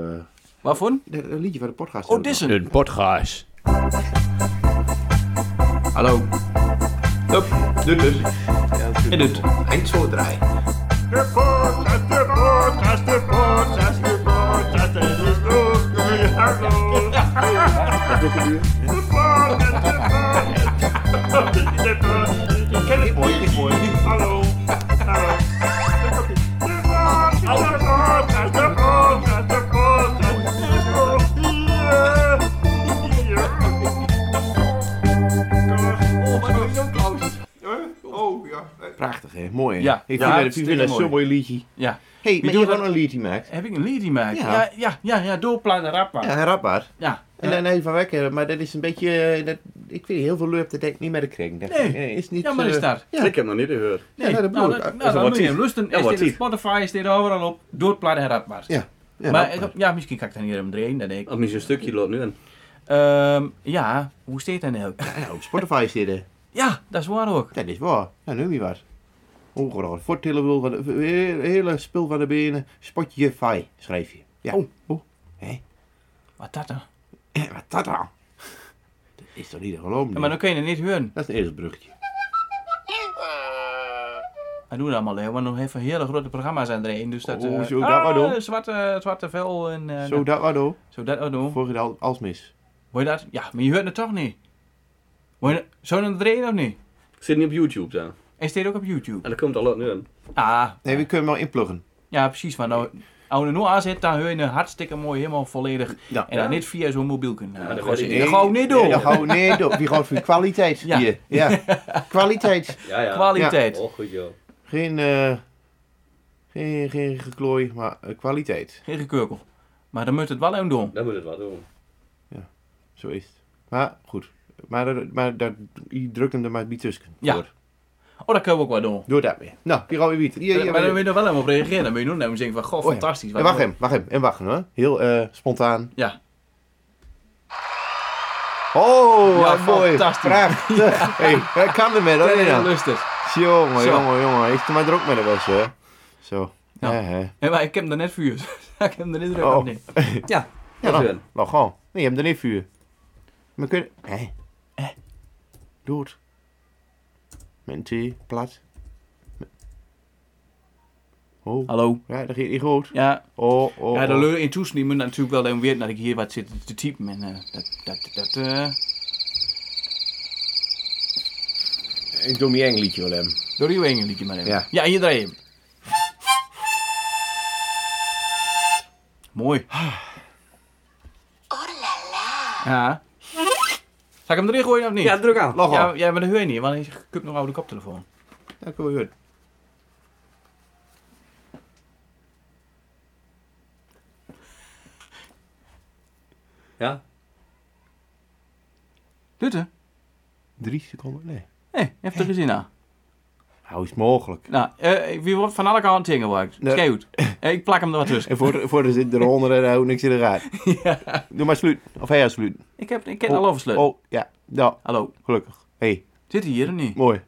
Speaker 3: Waarvoor?
Speaker 4: dat dat liedje van de podcast.
Speaker 3: Oh,
Speaker 4: ook
Speaker 3: dit is
Speaker 4: nog.
Speaker 3: een.
Speaker 8: podcast.
Speaker 3: Hallo. Hup. Dit is. En dit.
Speaker 4: Eind zo draaien.
Speaker 6: De podcast, de podcast, de podcast, de podcast, het is goed, jullie hallo. De podcast, de podcast, de podcast, ik ken het mooi, dit mooi. Hallo, hallo. De podcast, de podcast, de podcast, de podcast, hier, hier.
Speaker 3: Oh, wat doe je nou trouwens?
Speaker 6: Oh, ja.
Speaker 4: Prachtig, hè? Mooi. Hè?
Speaker 3: Ja.
Speaker 4: Ik
Speaker 3: Ja,
Speaker 4: vind het
Speaker 3: hartstikke
Speaker 4: een
Speaker 3: mooi.
Speaker 4: zo'n mooi liedje.
Speaker 3: Ja.
Speaker 4: hey,
Speaker 3: doet
Speaker 4: maar je gewoon
Speaker 3: dat?
Speaker 4: een liedje maakt.
Speaker 3: Heb ik een lied die maakt?
Speaker 4: Ja.
Speaker 3: Ja, ja, ja, ja. Doorplannen rappa.
Speaker 4: Ja,
Speaker 3: Ja.
Speaker 4: een rapper.
Speaker 3: ja.
Speaker 4: En dan even wekken, maar dat is een beetje. eh, Dat, ik vind heel veel leuk, dat denk ik niet met de kring. Dat
Speaker 3: Nee.
Speaker 4: eh, is niet.
Speaker 3: maar is
Speaker 4: eh,
Speaker 3: dat?
Speaker 4: Ja.
Speaker 5: Ik heb nog niet gehoord.
Speaker 4: Ja, dat bedoel
Speaker 3: nou,
Speaker 4: ik.
Speaker 3: dat- nou,
Speaker 5: is
Speaker 3: dan
Speaker 5: wat
Speaker 3: moet je
Speaker 5: tief.
Speaker 3: hem lusten.
Speaker 5: Ja,
Speaker 3: Is
Speaker 5: wat
Speaker 3: dit op
Speaker 5: tief.
Speaker 3: Spotify is dit overal op. Doorplannen en rapbaar.
Speaker 4: Ja. Ja,
Speaker 3: maar
Speaker 4: rapper.
Speaker 3: eh, ja, misschien kan ik daar niet even erin, dat denk ik.
Speaker 5: Of misschien een stukje loopt nu aan.
Speaker 3: Ehm, ja, hoe steekt dat nou?
Speaker 4: Ja, op Spotify zitten.
Speaker 3: Ja, dat is waar ook.
Speaker 4: Dat is waar. Nou, nu niet wat. Ongelooflijk. Voortillenwil van de he- hele spul van de benen. Spotify, schrijf je. Ja. Oh.
Speaker 3: Wat dat nou? dan?
Speaker 4: Wat dat dan? Dat is toch niet te geloven?
Speaker 3: Ja, maar dan kun je het niet horen.
Speaker 4: Dat is een eerlijk bruggetje.
Speaker 3: Hij doet allemaal, hè, want nog even hele grote programma's aan erin. Dus dat,
Speaker 4: Oh,
Speaker 3: eh,
Speaker 4: zo, dat maar door.
Speaker 3: zwarte, zwarte vel en... eh,
Speaker 4: Zo,
Speaker 3: dat-
Speaker 4: dat wat hoor.
Speaker 3: zo dat ook doen.
Speaker 4: Volg je dat als mis.
Speaker 3: Hoor je dat? Ja, maar je hoort het toch niet. Hoor je dat- Zo dan erin of niet?
Speaker 5: Zit niet op YouTube dan.
Speaker 3: En staat ook op YouTube.
Speaker 5: En dat komt al loopt nu aan.
Speaker 3: Ah,
Speaker 4: Nee, we kunnen hem wel inpluggen.
Speaker 3: ja precies. Want nou, als je er nu aan zit, dan hoor je het hartstikke mooi, helemaal volledig.
Speaker 4: Ja.
Speaker 3: En dan niet via zo'n mobiel kunnen.
Speaker 5: dat
Speaker 3: dat
Speaker 5: weet ik
Speaker 4: Nee,
Speaker 3: gaan we niet doen.
Speaker 4: Nee, dat gaan we niet doen. Wie gaat voor kwaliteit
Speaker 3: Oh. Ja.
Speaker 4: hier? Ja. Kwaliteit.
Speaker 5: Ja, ja.
Speaker 3: Kwaliteit.
Speaker 5: Oh, goed joh.
Speaker 4: Geen, eh, geen, geen geklooi, maar eh, kwaliteit.
Speaker 3: Geen gekeukel. Maar dan moet het wel even doen.
Speaker 5: Dan moet het wat doen.
Speaker 4: Zo is het. Maar goed. Maar, dat- maar dat, je drukt hem er maar bij tussen.
Speaker 3: Ja.
Speaker 4: Door,
Speaker 3: Oh, dat kunnen we ook wel doen.
Speaker 4: door dat weer. Nou, hier gaan we weer. Hier, hier,
Speaker 3: Eh, maar dan
Speaker 4: hier.
Speaker 3: wil je er wel even op reageren. Dan moet je nu namelijk zeggen van, goh,
Speaker 4: Oh, ja.
Speaker 3: fantastisch.
Speaker 4: En
Speaker 3: wat
Speaker 4: wacht
Speaker 3: mooi.
Speaker 4: hem, wacht hem. En wacht hem hoor. Heel eh, spontaan.
Speaker 3: Ja.
Speaker 4: Oh,
Speaker 3: Ja,
Speaker 4: wat mooi.
Speaker 3: fantastisch.
Speaker 4: Prachtig. Hey, hij kan er met hoor.
Speaker 3: Ja,
Speaker 4: Ja.
Speaker 3: lustig.
Speaker 4: Jongen,
Speaker 3: Zo.
Speaker 4: jongen, jongen. Heeft er maar druk met de was hè. Zo.
Speaker 3: Ja.
Speaker 4: Ja. hè.
Speaker 3: Ja, maar ik heb hem er net vuur. ik heb hem er niet druk
Speaker 4: Oh.
Speaker 3: op, nee. Ja.
Speaker 4: Ja,
Speaker 5: Dat is
Speaker 4: nou,
Speaker 5: wel.
Speaker 4: nou gewoon. Nee, je hebt er niet vuur. Maar kun je... Hé. Hé. Doe het. Menti, plat. Oh,
Speaker 3: Hallo.
Speaker 4: ja, dat gaat niet goed.
Speaker 3: Ja,
Speaker 4: Oh, oh,
Speaker 3: ja de
Speaker 4: oh.
Speaker 3: leur in toestemmen moet natuurlijk wel even weten dat ik hier wat zit te typen. En eh, dat, dat, dat, eh,
Speaker 4: Ik doe mijn eng liedje wel hem.
Speaker 3: door uw ene liedje maar even.
Speaker 4: Ja.
Speaker 3: ja hier draai je hem. Mooi. Ja. Zal ik hem erin gooien of niet?
Speaker 5: Ja, druk aan.
Speaker 4: Log
Speaker 3: ja,
Speaker 4: ja.
Speaker 3: ja, maar dat hoor je niet, want ik heb nog oude koptelefoon.
Speaker 4: Dat kan wel goed.
Speaker 5: Ja.
Speaker 3: Doet hè?
Speaker 4: Drie seconden? Nee.
Speaker 3: Nee, heeft er gezien aan.
Speaker 4: Hoe is het mogelijk?
Speaker 3: Nou, eh, wie wordt van alle kanten ingewerkt?
Speaker 4: Nee.
Speaker 3: Schreeuwt. Eh, ik plak hem er wat tussen.
Speaker 4: En voor, de- voor de zit eronder en houdt niks in de raad. Doe maar sluit. Of hij gaat sluit.
Speaker 3: Ik heb, ik heb het al oversleut.
Speaker 4: Oh, ja. Nou,
Speaker 3: Hallo,
Speaker 4: gelukkig. Hé, hey,
Speaker 3: zit hij hier of niet?
Speaker 4: mooi.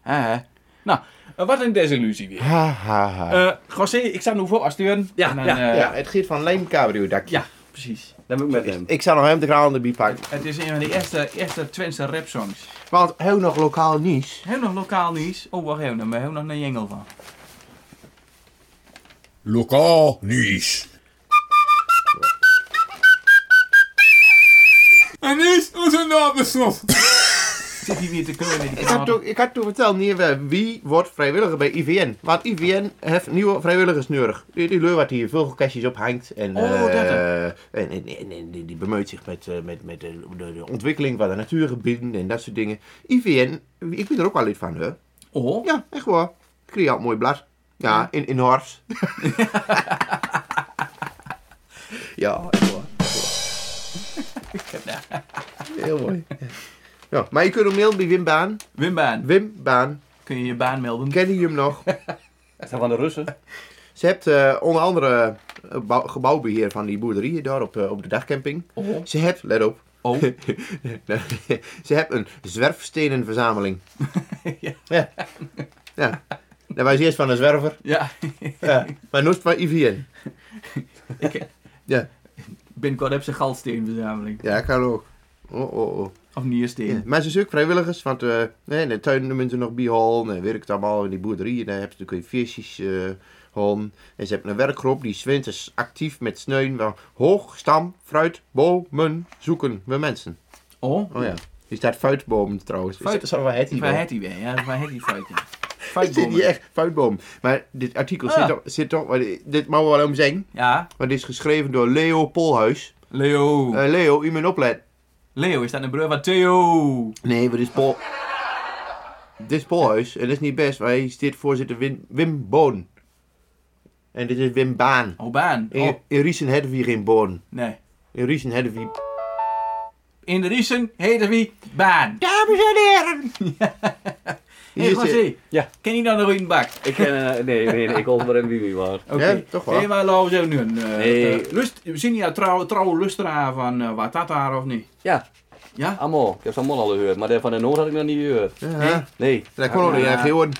Speaker 3: Hè, hè. Nou, eh, wat een desillusie weer.
Speaker 4: Ha, ha, ha.
Speaker 3: Eh José, ik sta nu voor als deur.
Speaker 5: Ja,
Speaker 3: En dan,
Speaker 5: ja,
Speaker 3: eh,
Speaker 4: ja, het geeft van Leen Cabrio dakje.
Speaker 3: ja, precies.
Speaker 5: Dan moet ik met hem.
Speaker 4: Ik zou nog hem de kraan erbij pakken.
Speaker 3: Het is een van de eerste, eerste Twentse rapsongs.
Speaker 4: Want heel nog lokaal nieuws.
Speaker 3: Heel nog lokaal nieuws. Oh, wacht even, daar hebben nog een jengel van.
Speaker 1: Lokaal nieuws.
Speaker 2: En is onze naam beslot.
Speaker 3: Zit hier weer te kleuren in die
Speaker 4: Ik had,
Speaker 3: kanaal.
Speaker 4: toen, ik had toen verteld, niet, eh, wie wordt vrijwilliger bij IVN? Want IVN heeft nieuwe vrijwilligers nodig. Die, die leur wat hier vogelkastjes op hangt. En,
Speaker 3: Oh, dat,
Speaker 4: eh, en, en, en- en die, die bemoeit zich met, eh, met, met de, de, de ontwikkeling van de natuurgebieden en dat soort dingen. IVN, ik ben er ook wel lid van, hè?
Speaker 3: Oh,
Speaker 4: Ja, echt waar. Ik kreeg al een mooi blad. Ja, in, in Horst. ja, echt waar. Heel mooi. Ja, maar je kunt ook mailen bij Wim Baan.
Speaker 3: Wim Baan.
Speaker 4: Wim Baan.
Speaker 3: Kun je je baan melden?
Speaker 4: Kennen jullie hem nog?
Speaker 5: Is dat van de Russen?
Speaker 4: Ze hebt eh, onder andere eh, bouw- gebouwbeheer van die boerderijen daar op, eh, op de dagcamping.
Speaker 3: Oh.
Speaker 4: Ze hebt, let op,
Speaker 3: Oh.
Speaker 4: ze hebben een zwerfstenenverzameling. ja. ja. Dat was eerst van een zwerver,
Speaker 3: Ja,
Speaker 4: ja. maar nu is het van IVN.
Speaker 3: binnenkort heb ze galsteenverzameling.
Speaker 4: Ja, kan ook. Oh, oh, oh.
Speaker 3: Of niersteen.
Speaker 4: Ja, Maar ze zoeken vrijwilligers, want eh, nee, in de tuin noemen ze nog bihol en werkt allemaal in die boerderijen. Daar hebben ze natuurlijk weer visjes eh hom. En ze hebben een werkgroep die zwinters actief met sneun van hoog, stam, fruit, bomen zoeken we mensen.
Speaker 3: Oh,
Speaker 4: Oh ja, die staat fruitbomen trouwens.
Speaker 3: Fruit-
Speaker 4: is wel het
Speaker 3: waar had hij weer? Ja, waar had hij fruit? Ja.
Speaker 4: Is dit niet
Speaker 3: Fruitbomen.
Speaker 4: echt fruitboom? Maar dit artikel
Speaker 3: Ah.
Speaker 4: zit toch, zit toch maar dit mag wel om zijn,
Speaker 3: Ja,
Speaker 4: want dit is geschreven door Leo Polhuis.
Speaker 3: Leo.
Speaker 4: Eh, Leo, u moet opletten.
Speaker 3: Leo is dat een broer van Theo.
Speaker 4: Nee, maar dit is Pol... dit is Polhuis en dat is niet best. maar Hij is dit voorzitter Wim, Wim Boon. En dit is Wim Baan.
Speaker 3: Oh, baan.
Speaker 4: In,
Speaker 3: Oh,
Speaker 4: in Riesen hadden we hier geen Boon.
Speaker 3: nee.
Speaker 4: In Riesen hadden we...
Speaker 3: In de Riesen heette wie Baan.
Speaker 4: Dames en heren!
Speaker 3: Hey,
Speaker 4: Hier zit...
Speaker 3: José.
Speaker 5: Ja.
Speaker 3: Ken je dan nog een bak?
Speaker 5: Ik ken, eh, nee, nee, nee, ik hoor maar en wie wie waar.
Speaker 3: Oké.
Speaker 4: Ja, toch wel.
Speaker 3: Hey, maar laten we nu een... eh,
Speaker 5: Nee.
Speaker 3: eh, lust, zijn jij trouw, trouwe lusteraar van eh Watata of niet?
Speaker 5: Ja,
Speaker 3: Ja?
Speaker 5: allemaal. Ik heb ze allemaal al gehoord, maar die van de Noord had ik nog niet gehoord.
Speaker 4: Ja,
Speaker 5: Nee.
Speaker 4: dat kon ook niet. Ja, geen woorden.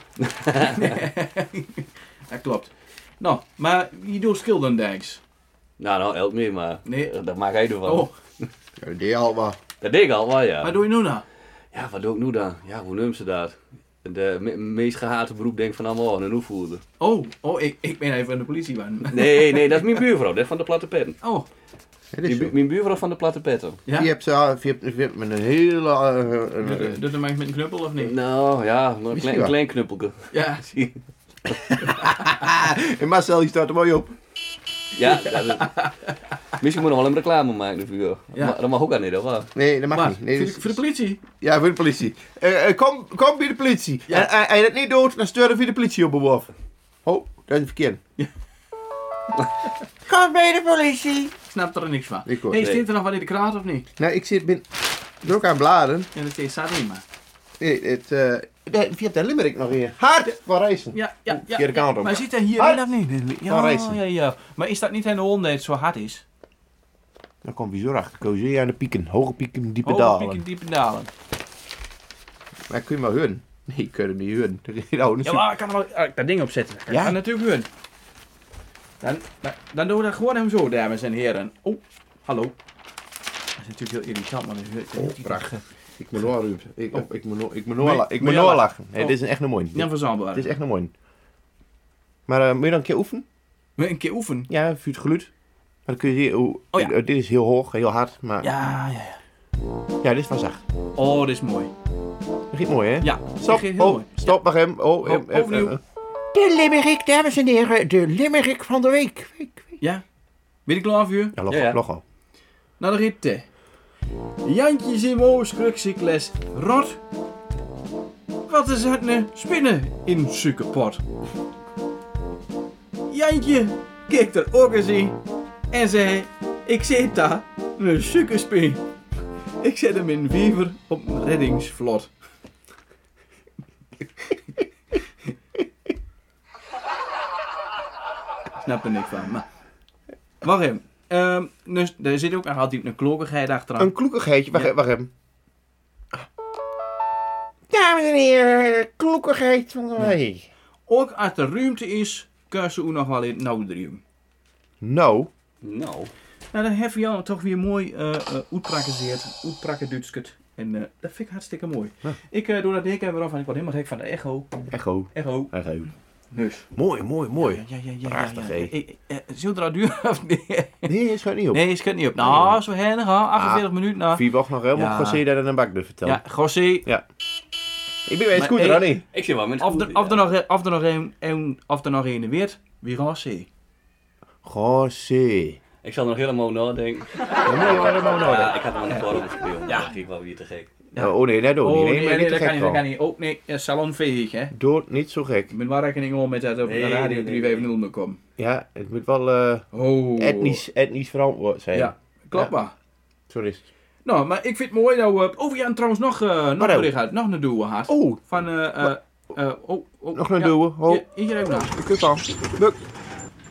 Speaker 3: Dat klopt. Nou, maar je doet Schilderdijks.
Speaker 5: Nou, nou, helpt mee, maar
Speaker 3: Nee.
Speaker 5: eh, dat maak jij ervan.
Speaker 3: Oh,
Speaker 4: Ja, dat deed al maar.
Speaker 5: Dat deed ik al wel, ja.
Speaker 3: wat doe je nu nou?
Speaker 5: Ja, wat doe ik nu dan? Ja, hoe noemen ze dat? De me- meest gehate beroep denk ik van allemaal, een oefvoerder.
Speaker 3: Oh, oh ik, ik ben even van de politie. man.
Speaker 5: Nee, nee, dat is mijn buurvrouw, dat is van de platte petten.
Speaker 3: Oh,
Speaker 4: Ja, dit
Speaker 5: Die
Speaker 4: is
Speaker 5: bu-
Speaker 4: zo.
Speaker 5: mijn buurvrouw van de platte petten.
Speaker 3: ja?
Speaker 4: Je hebt, zo- je hebt, je hebt met een hele... eh, een-
Speaker 3: Doet
Speaker 4: een-
Speaker 3: doet een mens met een knuppel of niet?
Speaker 5: Nou, ja, maar een
Speaker 4: Misschien
Speaker 5: klein,
Speaker 4: wel.
Speaker 5: een klein knuppelke.
Speaker 3: Ja.
Speaker 4: En Marcel, die staat er mooi op.
Speaker 5: Ja, dat is... Misschien moet nog wel een reclame maken ervoor.
Speaker 3: Ja.
Speaker 5: Maar dat mag ook aan niet, of wel?
Speaker 4: Nee, dat mag
Speaker 3: Maar,
Speaker 4: niet. Nee,
Speaker 3: voor,
Speaker 4: dat
Speaker 3: de,
Speaker 4: is-
Speaker 3: voor de politie?
Speaker 4: Ja, voor de politie. Eh, eh, kom, kom bij de politie. En en- als je dat niet doet, dan sturen we de politie op bewof. Oh, dat is verkeerd. kom bij de politie.
Speaker 3: Ik snap er niks van.
Speaker 4: Ik ook,
Speaker 3: hey,
Speaker 5: nee.
Speaker 3: steekt er nog wat in de kraat of niet?
Speaker 4: Nou, ik zit bin... druk aan bladen.
Speaker 3: Ja, dat steekt staat niet, maar.
Speaker 4: Nee, het, eh, nee, je hebt de Limerick nog hier. Hard van reizen.
Speaker 3: Ja, ja, ja.
Speaker 4: Verkeerde kant op.
Speaker 3: Maar zit hij hier
Speaker 4: Hard.
Speaker 3: in of niet?
Speaker 4: Van
Speaker 3: Ja,
Speaker 4: Racing.
Speaker 3: ja, ja. Maar is dat niet aan de hond dat het zo hard is?
Speaker 4: Dan komt bizar achter. Cozeer aan de pieken. Hoge pieken, diepe
Speaker 3: Hoge
Speaker 4: dalen.
Speaker 3: Oh, pieken, diepe dalen.
Speaker 4: Maar kun je maar hun? Nee, kun je hem niet hun. Er is geen oude
Speaker 3: Ja,
Speaker 4: soep.
Speaker 3: maar ik kan er wel ah, ik dat ding opzetten. Dat
Speaker 4: Ja?
Speaker 3: kan natuurlijk hun. Dan, dan, dan doen we dat gewoon hem zo, dames en heren. Oh, hallo. Dat is natuurlijk heel irritant, maar dat hoort
Speaker 4: Oh, prachtig. Ik moet nog ruimte. Ik,
Speaker 3: Oh.
Speaker 4: ik moet nog- ik moet
Speaker 3: Moet je-
Speaker 4: nog la- ik
Speaker 3: moet
Speaker 4: moet
Speaker 3: je
Speaker 4: nog
Speaker 3: lachen?
Speaker 4: lachen. Nee,
Speaker 3: Oh.
Speaker 4: dit is echt een mooi.
Speaker 3: Ja, verzamelbaar.
Speaker 4: Dit is echt een mooi. Maar eh, moet je dan een keer oefenen?
Speaker 3: Wil je een keer oefenen?
Speaker 4: Ja, vuurt geluid. Maar dan kun je zien hoe...
Speaker 3: Oh ja.
Speaker 4: eh, Dit is heel hoog, heel hard, maar... Ja,
Speaker 3: Ja, ja, ja.
Speaker 4: dit is van zacht.
Speaker 3: Oh, dit is mooi.
Speaker 4: Dat ging mooi, hè?
Speaker 3: Ja,
Speaker 4: Stop,
Speaker 3: dit is heel
Speaker 4: oh,
Speaker 3: mooi.
Speaker 4: stop, mag hem. Oh, hem, hem,
Speaker 3: opnieuw.
Speaker 4: eh, eh. De limmerik, dames en heren. De limmerik van de week. Week, week.
Speaker 3: Ja? Weet ik klaar voor u?
Speaker 4: Ja, logo,
Speaker 5: Ja, ja.
Speaker 4: logo.
Speaker 3: Naar de ritte. Jantje Simo Skruksikles Rot. Wat is het ne spinnen in suikerpot? Jantje keek er ook eens in en zei: Ik zit daar, een suikerspin. Ik zet hem in wiever op een reddingsvlot. Snap er niks van, maar. Wacht even. Ehm, dus, er zit ook nog altijd een klokigheid achteraan.
Speaker 4: Een kloekigheidje, wacht,
Speaker 3: Ja.
Speaker 4: hem, wacht hem. Dames en heren, kloekigheid van de week.
Speaker 3: Ook als er ruimte is, kun ze ook nog wel in het naudrium.
Speaker 4: Nou,
Speaker 5: Nou.
Speaker 3: Nou, dan heb je al toch weer mooi eh eh uitprakkezeerd, uitprakkerdutskut. En eh, dat vind ik hartstikke mooi. Ik eh, doe dat de keer weer af en ik word helemaal gek van de echo.
Speaker 4: echo.
Speaker 3: Echo.
Speaker 4: Echo.
Speaker 3: Neus.
Speaker 4: Mooi, mooi,
Speaker 3: Ja,
Speaker 4: mooi.
Speaker 3: ja, ja. ja,
Speaker 4: Dus. Prachtig,
Speaker 3: ja,
Speaker 4: hé.
Speaker 3: ja. Eh, eh, Zullen we er duur of nee?
Speaker 4: Nee, dat schuift niet op.
Speaker 3: Nee, je schudt niet op. Nou, zo heilig, hè? 48 minuten. Nou.
Speaker 4: Ah, Vier wacht nog helemaal
Speaker 3: Ja.
Speaker 4: ja. José dat aan een bak durft vertellen.
Speaker 3: Ja, José.
Speaker 4: Ik ben bij een
Speaker 5: Maar
Speaker 4: scooter,
Speaker 5: één-
Speaker 4: Annie.
Speaker 5: Ik zit wel met
Speaker 3: Of er, of er nog, of er nog een, een, of er nog een weet, wie José.
Speaker 4: José.
Speaker 5: Ik zal nog helemaal nadenken.
Speaker 4: Dat moet je wel helemaal nodig.
Speaker 5: Ja, ik had nog een vorm gespeeld. Ja, ik wou weer te gek.
Speaker 3: Ja.
Speaker 4: Oh nee, dat doe ik
Speaker 3: Oh,
Speaker 4: niet.
Speaker 3: nee,
Speaker 4: Nee, maar
Speaker 3: nee,
Speaker 4: niet te
Speaker 3: dat kan
Speaker 4: gek
Speaker 3: niet, dat kan
Speaker 4: gewoon.
Speaker 3: niet. Ook nee, eh, salonveeg, hè.
Speaker 4: Doe het niet zo gek.
Speaker 3: Ik ben wel rekening om met dat op
Speaker 5: Nee,
Speaker 3: Radio
Speaker 5: nee, nee,
Speaker 3: 350 moet komen.
Speaker 4: Ja, het moet wel eh,
Speaker 3: Oh.
Speaker 4: etnisch, etnisch verantwoord zijn.
Speaker 3: Ja, klopt
Speaker 4: Ja.
Speaker 3: maar.
Speaker 4: Sorry.
Speaker 3: Nou, maar ik vind het mooi dat we... Oh, ja, en trouwens nog, eh nog een
Speaker 4: Hallo.
Speaker 3: bericht uit. Nog een duo had.
Speaker 4: Oh,
Speaker 3: Van eh, eh, Eh, oh, oh,
Speaker 4: Nog een duwen. Ho.
Speaker 3: Ja, hier even naar.
Speaker 4: Ik kan. Luk.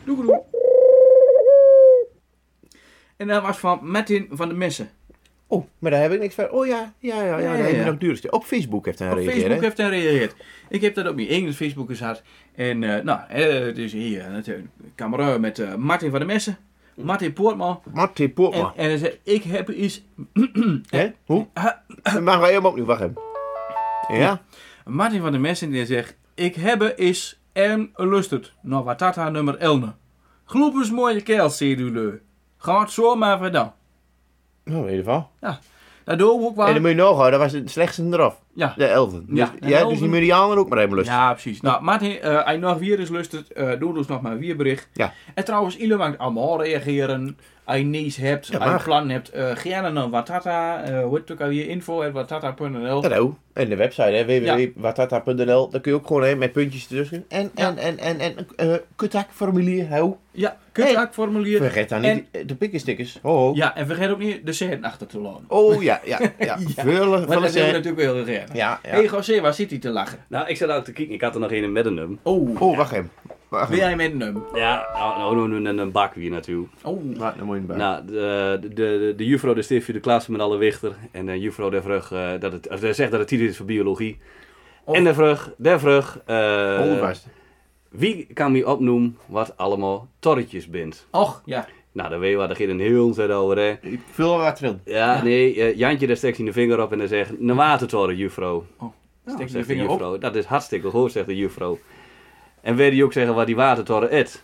Speaker 3: Doe, doe, doe. En dat was van Martin van de Messen.
Speaker 4: Oh, maar daar heb ik niks van. Oh ja, ja, ja, ja.
Speaker 3: Ja,
Speaker 4: daar
Speaker 3: ja,
Speaker 4: heb je
Speaker 3: ja.
Speaker 4: nog duurste. Op Facebook heeft hij
Speaker 3: Op
Speaker 4: gereageerd.
Speaker 3: Facebook
Speaker 4: hè?
Speaker 3: heeft hij gereageerd. Ik heb dat op mijn eigen Facebook gezet. En eh, nou, eh, het is hier natuurlijk een camera met eh, Martin van de Messen. Martin Poortman.
Speaker 4: Martin
Speaker 3: En,
Speaker 4: Poortman.
Speaker 3: en hij zei, ik heb iets...
Speaker 4: Hè? Hoe?
Speaker 3: Ha-
Speaker 4: Dan maken we helemaal opnieuw. Wacht even. Ja?
Speaker 3: Martin van de Messen die zegt, ik heb is en lustet. Nou, wat dat haar nummer 11. Gloep eens mooie kerel, cellule. Gaat zo maar verder.
Speaker 4: Nou, in ieder geval.
Speaker 3: Dat doe ik ook
Speaker 4: En dan
Speaker 3: wel.
Speaker 4: moet je nagaan, dat was het slechtste eraf.
Speaker 3: Ja.
Speaker 4: De elfen. Dus,
Speaker 3: Ja,
Speaker 4: ja,
Speaker 3: de
Speaker 4: dus die
Speaker 3: elfen.
Speaker 4: Merianen ook maar even lust.
Speaker 3: Ja, precies. Nou, Martin, eh, als je nog weer eens lustert, eh, doe dus nog maar weer bericht.
Speaker 4: Ja.
Speaker 3: En trouwens, iedereen mag allemaal reageren. Als je niets hebt, als
Speaker 4: mag.
Speaker 3: je plan hebt, eh gerne naar Watata. eh hoe heet het ook alweer? Info at watata.nl.
Speaker 4: Hallo. Nou, En de website, hè, www.watata.nl. Daar kun je ook gewoon heen met puntjes ertussen. En, en, en, en, en, eh contactformulier, hou.
Speaker 3: Ja,
Speaker 4: We
Speaker 3: contactformulier.
Speaker 4: Vergeet daar niet de, de pikkenstickers. Ho, ho.
Speaker 3: Ja, en vergeet ook niet de cent achter te laten.
Speaker 4: Oh ja, ja, ja. Vullen,
Speaker 3: Want
Speaker 4: vullen
Speaker 3: dat hebben we
Speaker 4: ze.
Speaker 3: natuurlijk wel gereden.
Speaker 4: Ja,
Speaker 3: Hé hey,
Speaker 4: ja.
Speaker 3: José, waar zit hij te lachen?
Speaker 5: Nou, ik zat ook te kijken. Ik had er nog een met een nummer.
Speaker 3: Oh,
Speaker 4: Oh, wacht even. Wacht
Speaker 3: ben
Speaker 4: even.
Speaker 3: jij met een hem?
Speaker 5: Ja, nou, nou, nou, nou, nou, een bak weer natuurlijk.
Speaker 3: Oh,
Speaker 4: Nou, dan moet je erbij.
Speaker 5: Nou, de, de, de, de juffrouw de stiftje de klas met alle wichter. En de juffrouw der vrug, eh, dat het, of, eh, zegt dat het titel is voor biologie.
Speaker 3: Oh.
Speaker 5: En de vrug, der vrug, eh,
Speaker 4: Onderwijs.
Speaker 5: wie kan me opnoemen wat allemaal torretjes bent?
Speaker 3: och, ja.
Speaker 5: Nou, daar weet je wat, daar gaat een heel zet over, hè.
Speaker 4: Ik Vul er wat erin.
Speaker 5: Ja, nee, eh, Jantje daar steekt hij de vinger op en dan zegt, "Nou, een watertoren, juffrouw.
Speaker 3: Oh,
Speaker 5: Nou,
Speaker 3: steekt hij
Speaker 5: zegt
Speaker 3: de vinger op?
Speaker 5: juffrouw. Dat is hartstikke goed, zegt de juffrouw. En weet je ook zeggen wat die watertoren eet?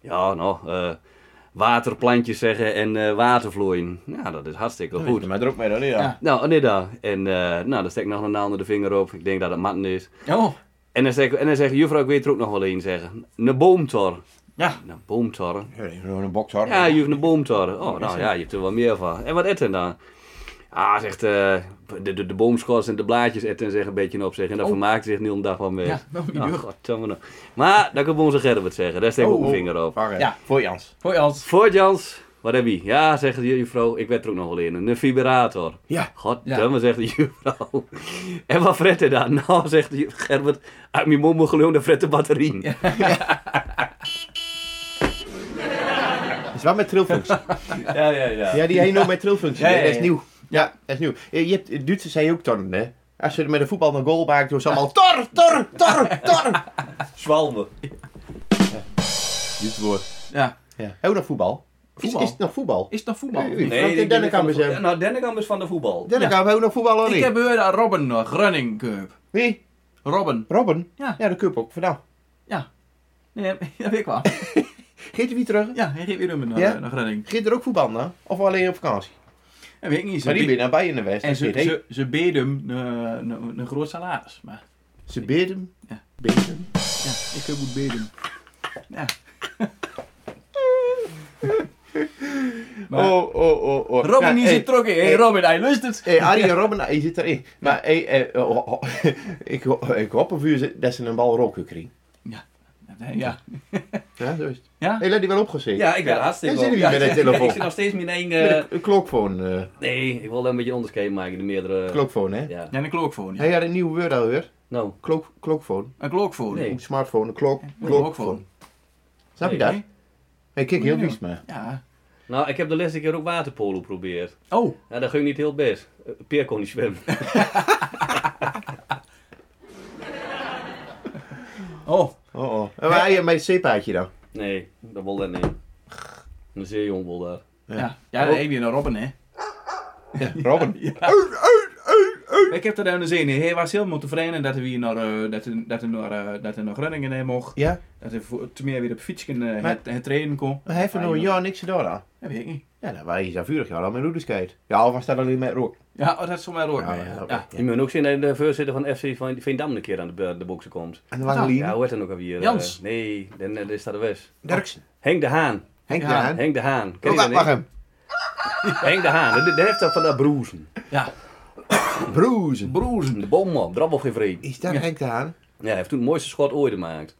Speaker 5: Ja, nou, eh, waterplantjes zeggen en eh watervlooien. Ja, dat is hartstikke goed.
Speaker 4: Goed. Maar er ook mee dan, ja.
Speaker 3: Ja.
Speaker 5: Nou, nee daar. En eh, nou, dan steek ik nog een ander de vinger op. Ik denk dat het matten is.
Speaker 3: Oh,
Speaker 5: En dan, zeg, ik- en dan zegt juffrouw, ik weet er ook nog wel een zeggen. Een boomtor.
Speaker 3: ja.
Speaker 5: Een boomtor?
Speaker 4: Ja, die is gewoon een box hoor.
Speaker 5: Ja, je hebt een boomtor. Oh, nou ja, je hebt er wel meer van. En wat eet hij dan? Ah, zegt eh, de, de, de boomschors en de blaadjes etten zich een beetje op zich. En daar
Speaker 4: Oh.
Speaker 5: vermaakt zich niet om dag van mee.
Speaker 3: Ja, nou, niet
Speaker 5: nou,
Speaker 3: duur.
Speaker 5: godverdomme. Maar dan kan onze Gerbert zeggen. Daar steek ik ook een vinger op.
Speaker 4: Oh, Wacht even.
Speaker 3: Ja.
Speaker 4: Voor Jans.
Speaker 3: Hoi Als.
Speaker 5: Voor Jans, wat heb je? Ja, zegt de juffrouw, ik werd er ook nog wel in. Een vibrator.
Speaker 4: Ja.
Speaker 5: Goddamme, zegt de juffrouw. En wat fret hij dan? Nou, zegt de juf- Gerbert, uit mijn mond moet geloof de frette batterien.
Speaker 4: Dat is wel met trilfunctie.
Speaker 5: Ja, ja, ja.
Speaker 4: Ja, die heen ook met trilfunctie.
Speaker 3: Ja, ja,
Speaker 4: hè? Dat is
Speaker 3: ja.
Speaker 4: nieuw. Ja, dat is nieuw. Eh, Je je hebt, de Duitsers zijn ook torren, hè. Als ze met een voetbal een goal maken, doen ze allemaal tor, tor, tor, tor.
Speaker 5: Zwalmen.
Speaker 4: Dit woord.
Speaker 3: Ja.
Speaker 4: Ja. Ook nog voetbal. Is,
Speaker 3: Voetbal?
Speaker 4: is het nog voetbal?
Speaker 3: Is het nog voetbal?
Speaker 4: Nee. Frank en Dennekamp is hem.
Speaker 5: Nou, Dennekamp is van de voetbal.
Speaker 4: Dan gaan we ook nog voetbal aan.
Speaker 3: Ik heb gehoord dat Robin nog running cup.
Speaker 4: Wie?
Speaker 3: Robin.
Speaker 4: Robin?
Speaker 3: Ja.
Speaker 4: Ja, de cup ook. nou. Vandaan.
Speaker 3: Nee, dat weet ik wel.
Speaker 4: Geet er wie terug?
Speaker 3: Ja, hij geeft weer nummer naar,
Speaker 4: Ja?
Speaker 3: naar running.
Speaker 4: Geet er ook voetbal na? Of alleen op vakantie?
Speaker 3: Dat weet ik niet. Ze
Speaker 4: Maar die
Speaker 3: be-
Speaker 4: ben nabij in de West.
Speaker 3: En ze,
Speaker 4: Geet, hey,
Speaker 3: ze, ze beden hem eh, een- een een groot salaris. Maar
Speaker 4: Ze bidden.
Speaker 3: Ja.
Speaker 4: Bidden.
Speaker 3: ja, ik heb goed beden. Ja. Maar-
Speaker 4: Oh, oh, oh, oh.
Speaker 3: Robin
Speaker 4: Ja,
Speaker 3: die
Speaker 4: hey,
Speaker 3: zit trokken. Hé,
Speaker 4: hey.
Speaker 3: Robin, hij lust het.
Speaker 4: Hey, Arie en Robin, je zit erin. Maar hey, eh, oh, oh, ik, ho- ik hoop een vuur dat ze een bal roken krijgen.
Speaker 3: Ja.
Speaker 4: Ja, zo is het.
Speaker 3: Ja?
Speaker 4: Hey, laat die wel opgezet.
Speaker 5: Ja, ik ben hartstikke
Speaker 4: Dan zitten we
Speaker 5: op.
Speaker 4: weer
Speaker 5: Ja,
Speaker 4: met de telefoon.
Speaker 5: Ik zit nog steeds mijn eigen... eh,
Speaker 4: Een klokfoon, eh,
Speaker 5: Nee, ik wil daar een beetje onderscheid maken. De meerdere...
Speaker 4: klokfoon, hè?
Speaker 5: Ja.
Speaker 3: Ja, een klookfoon. Ja.
Speaker 4: Hij had een nieuwe woord alweer.
Speaker 5: Nou,
Speaker 4: Klok, klokfoon.
Speaker 3: Een klookfoon.
Speaker 5: Nee.
Speaker 4: Een smartphone, een klok, klokfoon.
Speaker 3: klokfoon.
Speaker 4: Snap je
Speaker 5: Nee,
Speaker 4: dat?
Speaker 3: nee.
Speaker 4: Hey, kijk, heel
Speaker 3: Ja.
Speaker 4: lief, maar.
Speaker 3: Ja.
Speaker 5: nou, ik heb de laatste keer ook waterpolo geprobeerd.
Speaker 3: Oh,
Speaker 5: Nou, dat ging niet heel best. Eh, Peer kon niet zwemmen.
Speaker 3: oh.
Speaker 4: Oh, oh. En
Speaker 5: eh,
Speaker 4: waar je met het c dan?
Speaker 5: Nee, dat wil dat niet. Een zeehond wil dat.
Speaker 3: Ja, ja.
Speaker 4: Oh.
Speaker 3: dat heb je naar Robin, hè.
Speaker 4: Robin.
Speaker 3: Ik heb er aan de zin in. Hij was helemaal tevreden dat hij weer naar, eh, dat hij, dat hij naar, eh, dat hij naar Groningen heen mocht.
Speaker 4: Ja?
Speaker 3: Dat hij voor, te meer weer op fietsen eh,
Speaker 4: Maar-
Speaker 3: het, het trainen kon.
Speaker 4: Maar hij heeft er nog een jaar niks gedaan aan.
Speaker 3: Dat weet ik niet.
Speaker 4: Ja, dan waren je zo vurig jaar al met roederskate. Ja, of was dat alleen met rook?
Speaker 3: Ja, oh, dat is voor mij rood.
Speaker 4: Ja,
Speaker 3: Ja,
Speaker 4: ja, dat-
Speaker 3: ja.
Speaker 5: Je moet ook zien dat de voorzitter van FC van Veendam een keer aan de, be- de boksen komt.
Speaker 4: En dan
Speaker 3: Nou,
Speaker 4: waren Lien.
Speaker 3: oh.
Speaker 5: Ja, hoe heet dan ook alweer? eh,
Speaker 3: Jans.
Speaker 5: nee, dan eh, dan is dat de West.
Speaker 4: Derksen.
Speaker 5: Henk de Haan.
Speaker 4: Henk
Speaker 3: Ja.
Speaker 4: Daan.
Speaker 5: Henk de Haan. Ken
Speaker 4: Oh,
Speaker 5: je dat
Speaker 4: wacht, wacht
Speaker 5: niet?
Speaker 4: hem.
Speaker 5: Henk de Haan. Die die heeft dat van dat broezen.
Speaker 3: ja.
Speaker 4: Broezen.
Speaker 5: Broezen. De boom op. Drabbel geen vreemd.
Speaker 4: Is dat
Speaker 3: Ja.
Speaker 4: Henk Daan?
Speaker 5: Ja, hij heeft toen het mooiste schot ooit gemaakt.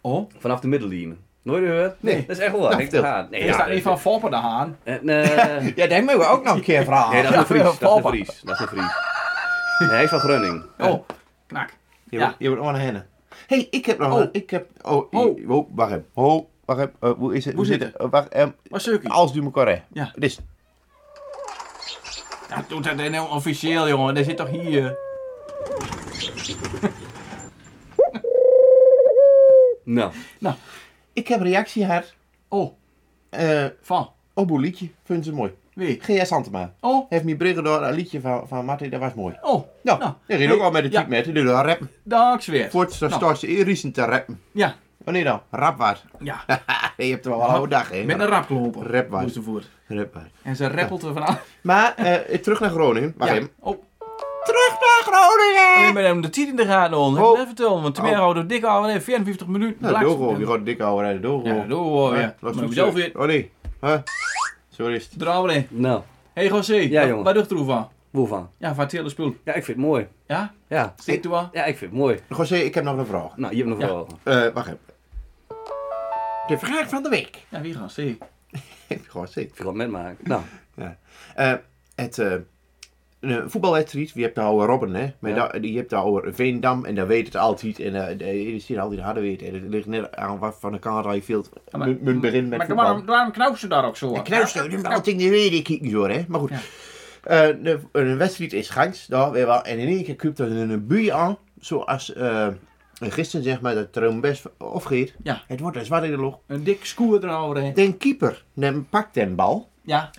Speaker 3: Oh,
Speaker 5: Vanaf de middenlijn. Nooit gehoord?
Speaker 4: Nee. Nou,
Speaker 5: Dat is echt wel waar. Henk de
Speaker 4: vertel.
Speaker 5: Haan. Nee,
Speaker 3: is
Speaker 5: ja,
Speaker 3: daar een van Foppen de Haan?
Speaker 5: En, eh,
Speaker 4: Ja, dat moeten we ook nog een keer vragen.
Speaker 5: Nee, dat is een Fries. Dat is
Speaker 3: Papa.
Speaker 5: Nou, een Fries. Dat is een Fries. Nee, hij is van Grunning.
Speaker 3: Oh, knak.
Speaker 4: Je,
Speaker 3: Ja.
Speaker 4: hebt, je hebt nog een henne. Hé, hey, ik heb nog
Speaker 3: Oh.
Speaker 4: een... Ik heb... Oh,
Speaker 3: Oh.
Speaker 4: i- oh, wacht even. Oh, wacht even. Eh, hoe is het?
Speaker 3: Hoe zit
Speaker 4: het? Eh, wacht, ehm,
Speaker 3: Maar Suki,
Speaker 4: als du me correct.
Speaker 3: Ja.
Speaker 4: Het is...
Speaker 3: nou, doe dat nou officieel, jongen. Dat zit toch hier. eh?
Speaker 5: Nou,
Speaker 4: Ik heb reactie gehad
Speaker 3: Oh,
Speaker 4: eh,
Speaker 3: van.
Speaker 4: op een liedje. Vind ze mooi.
Speaker 3: Wie?
Speaker 4: G.S. Santema.
Speaker 3: Oh,
Speaker 4: Heeft me brengen door een liedje van, van Martin. Dat was mooi.
Speaker 3: oh.
Speaker 4: Ja,
Speaker 3: Nou,
Speaker 4: die ging ook al met de
Speaker 3: ja.
Speaker 4: type met. Die doet al rappen.
Speaker 3: Dank weer.
Speaker 4: Voor het
Speaker 3: Nou.
Speaker 4: start ze in Riesen te rappen.
Speaker 3: Ja,
Speaker 4: Wanneer dan? Rapwaard.
Speaker 3: ja.
Speaker 4: je hebt er wel een oude dag, hè?
Speaker 3: Met een raploper.
Speaker 4: Rapwaard.
Speaker 3: Moest ervoor.
Speaker 4: Rapwaard.
Speaker 3: En ze rappelt er vanaf.
Speaker 4: Maar eh, terug naar Groningen. Wacht
Speaker 3: Ja.
Speaker 4: even.
Speaker 3: Oh,
Speaker 4: Terug naar Groningen!
Speaker 3: ik ben hem de tijd in de gaten hoor.
Speaker 4: Oh.
Speaker 3: Heb even vertellen, want Tamara houden we dik aan. Nee, 54 minuten.
Speaker 4: Nou,
Speaker 3: Blaks-
Speaker 4: doorgehoor. Je gaat dik houden rijden. Doorgehoor.
Speaker 3: Ja, door. Ja,
Speaker 4: Laat
Speaker 3: Maar
Speaker 4: goed
Speaker 3: zelf
Speaker 4: zijn.
Speaker 3: weer.
Speaker 4: Oh nee. Huh? Zo is het.
Speaker 3: Draal in.
Speaker 5: nou,
Speaker 3: Hey José, wat-
Speaker 5: jongen.
Speaker 3: wat doet er van?
Speaker 5: waarvan?
Speaker 3: Ja, van het hele spul.
Speaker 5: Ja, ik vind het mooi.
Speaker 3: Ja?
Speaker 5: Ja,
Speaker 3: Zit toe aan?
Speaker 5: ja ik vind het mooi.
Speaker 4: José, ik heb nog een vraag.
Speaker 5: Nou, je hebt nog
Speaker 3: Ja.
Speaker 5: wel.
Speaker 4: Eh, wacht even. De vraag van de week.
Speaker 3: Ja, wie gaan ze?
Speaker 4: José.
Speaker 5: Ik wil het met maken. Nou,
Speaker 4: Eh het eh een eh, voetbalwedstrijd. Je hebt de oude Robben, hè? Maar
Speaker 5: Ja.
Speaker 4: da- die- je hebt de oude Veendam en daar weet het altijd. En eh de- is hier altijd harder weet. En het ligt net aan wat van de kant rijdt. veel.
Speaker 3: maar-
Speaker 4: Mijn mijn begin met
Speaker 3: Maar
Speaker 4: voetbal.
Speaker 3: waarom, waarom knauwt ze daar ook zo aan?
Speaker 4: Knuistel, dat had ik niet weten, ik kijk niet hoor, hè. Maar goed.
Speaker 3: Ja.
Speaker 4: Eh, de, een wedstrijd is gans, daar weer wel. En in één keer kuipt er een buie aan, zoals eh, gisteren zeg maar, dat er best afgeeft.
Speaker 3: Ja.
Speaker 4: Het wordt een zwart in de log.
Speaker 3: Een dik scoer eroverheen.
Speaker 4: De keeper neemt- pakt den bal,
Speaker 3: Ja.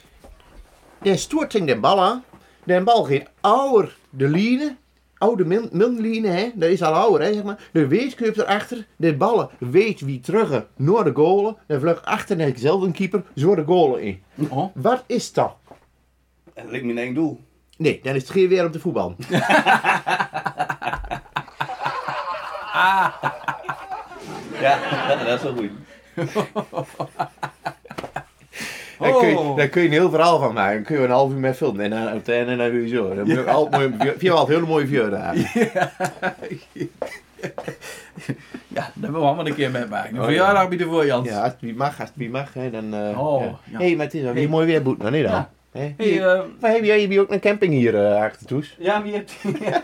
Speaker 4: die stoort tegen de bal aan. De bal gaat ouder de line, oude min- middenlijnen, hè. Dat is al ouder, hè, zeg maar. De wees kuipt erachter, de ballen weet wie terug naar de goalen. En vlucht achter naar dezelfde keeper, zo de goalen in.
Speaker 3: Oh.
Speaker 4: Wat is dat?
Speaker 5: dat lijkt me een eng doel.
Speaker 4: Nee, dan is het geen weer op de voetbal.
Speaker 3: Ah.
Speaker 5: Ja, dat is wel goed.
Speaker 4: Daar, kun
Speaker 3: Oh.
Speaker 4: je, daar kun je een heel verhaal van maken. Dan kun je een half uur mee filmen. En dan op het einde en dan kun je zo. Dan moet je ook altijd mooi, vind je wel altijd hele mooie view daar.
Speaker 3: Ja, daar willen we allemaal een keer mee maken. Een verjaardag bieden voor Jans.
Speaker 4: Oh, Ja, als het wie mag, als het wie mag. Hè, dan, eh,
Speaker 3: Oh,
Speaker 4: ja.
Speaker 3: ja.
Speaker 4: hey, maar het is wel weer
Speaker 3: Hey.
Speaker 4: mooi weer, Boet. Nou, nee dan.
Speaker 3: Ja.
Speaker 4: Hè?
Speaker 3: Hey, eh,
Speaker 4: Waar heb jij hier ook een camping hier eh, achter Toes?
Speaker 5: Ja, wie hebt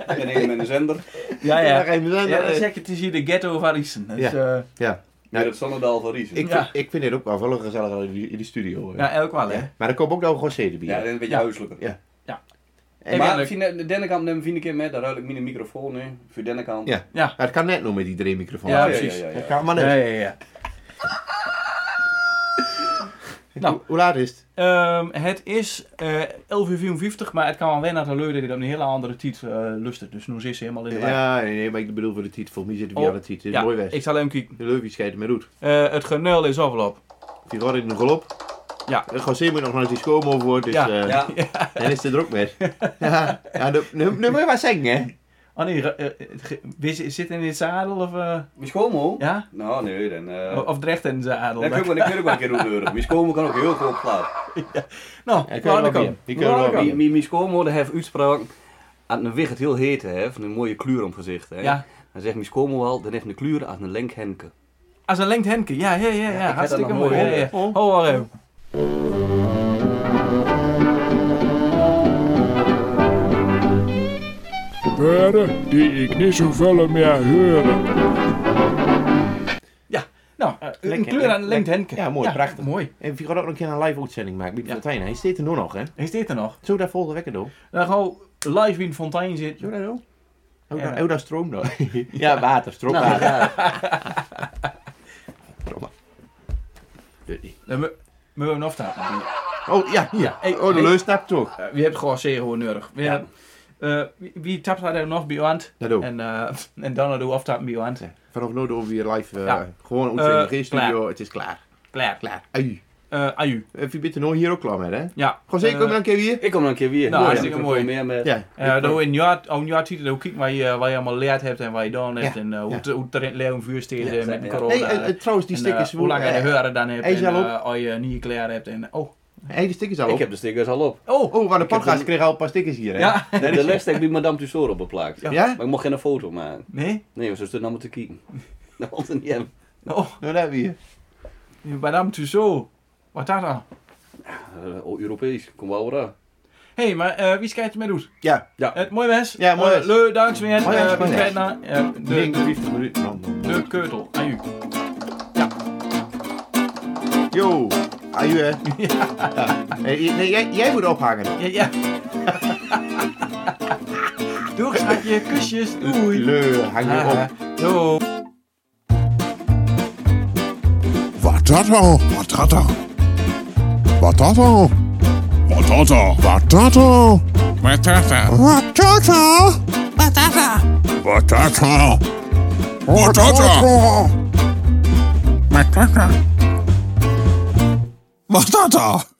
Speaker 5: En een met een zender.
Speaker 3: ja,
Speaker 4: Daar
Speaker 3: ja.
Speaker 4: ga je me dan-
Speaker 3: Ja, dat
Speaker 4: eh,
Speaker 3: zeg je, het is hier de ghetto van Riesen. Dus,
Speaker 4: Ja.
Speaker 3: eh,
Speaker 4: ja.
Speaker 5: Met het Zonnedal van Riesen.
Speaker 4: Ik,
Speaker 3: Ja.
Speaker 4: Vind, ik vind dit ook wel veel gezellig in die- in die studio. eh. hè.
Speaker 3: ja, nou, elk wel, hè?
Speaker 4: Ja. Maar dan komt ook nog een José erbij.
Speaker 5: Ja, dat is een beetje
Speaker 3: Ja.
Speaker 5: huiselijker.
Speaker 4: En-
Speaker 5: maar
Speaker 3: Eigenlijk-
Speaker 5: misschien, de Dennekamp nemen we een keer met, daar ruil ik mijn microfoon in. Voor Dennekamp.
Speaker 4: Ja.
Speaker 3: Ja.
Speaker 4: Maar het kan net nog met die drie microfoons.
Speaker 3: Ja,
Speaker 5: Ja, ja,
Speaker 3: precies.
Speaker 5: ja, ja.
Speaker 4: Dat kan maar net.
Speaker 3: Ja, ja, ja. Nou,
Speaker 4: Hoe- Hoe laat is het?
Speaker 3: ehm, het is eh 11.54 uur, 54, maar het kan wel wennen aan de leur dat hij op een hele andere tijd eh lustig. Dus nu zit ze helemaal in de war.
Speaker 4: Ja, nee, nee, maar ik bedoel voor de titel. Volgens mij zitten we
Speaker 3: Oh,
Speaker 4: aan de titel. Het is mooi west.
Speaker 3: ik zal hem kijken.
Speaker 4: De Leuven scheidt met roet.
Speaker 3: Eh, het genul is overloop.
Speaker 4: Die gaat in de golop.
Speaker 3: Ja.
Speaker 4: José moet nog naar die schoonmoor voor, dus
Speaker 3: Ja.
Speaker 4: eh,
Speaker 5: Ja.
Speaker 4: dan is hij er ook mee. ja, ja nu, nu, nu moet je wat zeggen, hè?
Speaker 3: Oh nee, re- eh, het ge- wie zi- zit in het zadel of... eh,
Speaker 5: Mijn schoonmo?
Speaker 3: ja? Oh,
Speaker 5: Nou, nee, dan... eh
Speaker 3: O- Of recht in het zadel?
Speaker 5: dan kun je wel- dan kun je ook wel een keer roepen. Mijn schoonmo kan ook heel veel praten.
Speaker 3: Nou,
Speaker 4: Ja, ik kan
Speaker 3: laat
Speaker 4: er
Speaker 3: ik
Speaker 4: wel
Speaker 3: komen.
Speaker 4: bij. Die kunnen
Speaker 3: Laat
Speaker 4: er wel
Speaker 3: ik
Speaker 5: Mijn
Speaker 3: komen.
Speaker 5: mijn- mijn schoonmo die heeft uitspraak aan een wicht het heel heet heeft, een mooie kleur om gezicht. Hè.
Speaker 3: Ja,
Speaker 5: Dan zegt mijn schoonmo al, dan heeft een kleur als een lenk Henke.
Speaker 3: als een lengt Henke. Ja, ja, ja, ja.
Speaker 5: dat
Speaker 3: hartstikke
Speaker 5: nog
Speaker 3: mooi. Ja,
Speaker 5: nooit
Speaker 3: ja.
Speaker 4: gehoord.
Speaker 3: Oh, wacht even.
Speaker 7: Beren die ik niet zo veel meer horen.
Speaker 3: Nou, eh, een
Speaker 4: Lenk-
Speaker 3: kleur aan
Speaker 4: Lenk-
Speaker 3: Lengt Henke.
Speaker 4: Ja, mooi, prachtig.
Speaker 3: Mooi.
Speaker 4: En je gaat ook nog een keer een live uitzending maken met
Speaker 3: Ja.
Speaker 4: Fontijn. Hij staat er nu nog, hè?
Speaker 3: Is dit er nog?
Speaker 4: Zo daar volgende wekker door.
Speaker 3: Dan gaan we live in Fontein zitten.
Speaker 4: Zo daar door. Hoe
Speaker 3: Ja.
Speaker 4: daar- hoe daar stroom dan? ja, water, stroomwater. Verdomme. Weet niet.
Speaker 3: Dan moeten we hem aftapen.
Speaker 4: Oh, ja, hier.
Speaker 3: hey,
Speaker 4: oh, de
Speaker 3: hey.
Speaker 4: leus snapt toch.
Speaker 3: Eh, wie hebt gewoon zeer gewoon nodig. Wie,
Speaker 4: Ja. Oh.
Speaker 3: eh, wie, wie tapt daar dan nog bij hand?
Speaker 4: Dat ook.
Speaker 3: En, eh, en dan doen we aftappen bij hand.
Speaker 4: Vanaf nu doen we weer live. eh,
Speaker 3: Ja.
Speaker 4: Gewoon uitzending,
Speaker 3: Eh,
Speaker 4: geen studio. Het is klaar.
Speaker 3: Klaar.
Speaker 4: Klaar. Ui.
Speaker 3: Eh aju.
Speaker 4: Even je bent er nou hier ook klaar mee, hè?
Speaker 3: Ja.
Speaker 4: Gewoon zeker,
Speaker 3: Eh,
Speaker 4: kom dan een keer weer.
Speaker 5: Ik kom dan een keer weer.
Speaker 3: Nou, hartstikke
Speaker 5: ik
Speaker 3: mooi.
Speaker 5: Meer met...
Speaker 4: Ja.
Speaker 3: eh dan in jouw in jouw titel dan kijk waar je, waar je allemaal leerd hebt en waar je dan hebt.
Speaker 4: Ja.
Speaker 3: En eh, hoe
Speaker 4: Ja.
Speaker 3: te- hoe te leeuwen vuur steekt
Speaker 5: Ja,
Speaker 3: eh,
Speaker 5: ja,
Speaker 3: met de
Speaker 5: ja.
Speaker 3: corona.
Speaker 4: Hey, eh, eh, trouwens, die
Speaker 3: En,
Speaker 4: stickers.
Speaker 3: eh, hoe lang je de
Speaker 4: eh,
Speaker 3: heuren dan hebt.
Speaker 4: hij
Speaker 3: En
Speaker 4: is al op.
Speaker 3: eh, als je niet klaar hebt. En, oh.
Speaker 4: hey, die stickers al
Speaker 5: Ik
Speaker 4: op.
Speaker 5: heb de stickers al op.
Speaker 3: Oh.
Speaker 4: Oh, van de podcast
Speaker 5: een-
Speaker 4: kreeg al een paar stickers hier, hè?
Speaker 3: Ja.
Speaker 5: Nee, de les heb ik bij Madame Tussauds opgeplakt.
Speaker 4: Ja?
Speaker 5: Maar ik mocht geen foto maken.
Speaker 3: Nee?
Speaker 5: Nee, want ze stonden allemaal nou te kijken. Dat was het niet hebben.
Speaker 3: Oh.
Speaker 4: Nou, daar weer.
Speaker 3: Madame Tussauds. Wat dat dan?
Speaker 5: Eh, oh, Europees, kom wel weer aan.
Speaker 3: Hé, hey, maar eh, wie schijnt je met doet?
Speaker 4: Ja.
Speaker 3: Het mooi mens.
Speaker 4: Ja, mooi mens.
Speaker 3: Leuk, dankzij.
Speaker 4: Mooi mens,
Speaker 3: Eh,
Speaker 4: mooi
Speaker 3: Wie
Speaker 4: mens.
Speaker 3: schijnt naar eh, de,
Speaker 4: Link,
Speaker 3: de,
Speaker 4: 50 minuten. man.
Speaker 3: de keutel aan u.
Speaker 4: Yo, aju hè. Eh, je- nee, jij, jij moet ophangen.
Speaker 3: Ja, ja. Doeg, schatje. Kusjes. Doei.
Speaker 4: Leu, hang je op.
Speaker 3: Doei.
Speaker 1: Wat dat dan? Wat dat dan? Wat dat dan?
Speaker 7: Patata.
Speaker 1: Wat dat dan?
Speaker 7: Patata.
Speaker 1: Wat dat dan? Wat dat dan? Wat dat dan?
Speaker 7: Patata.
Speaker 1: Wat dat dan?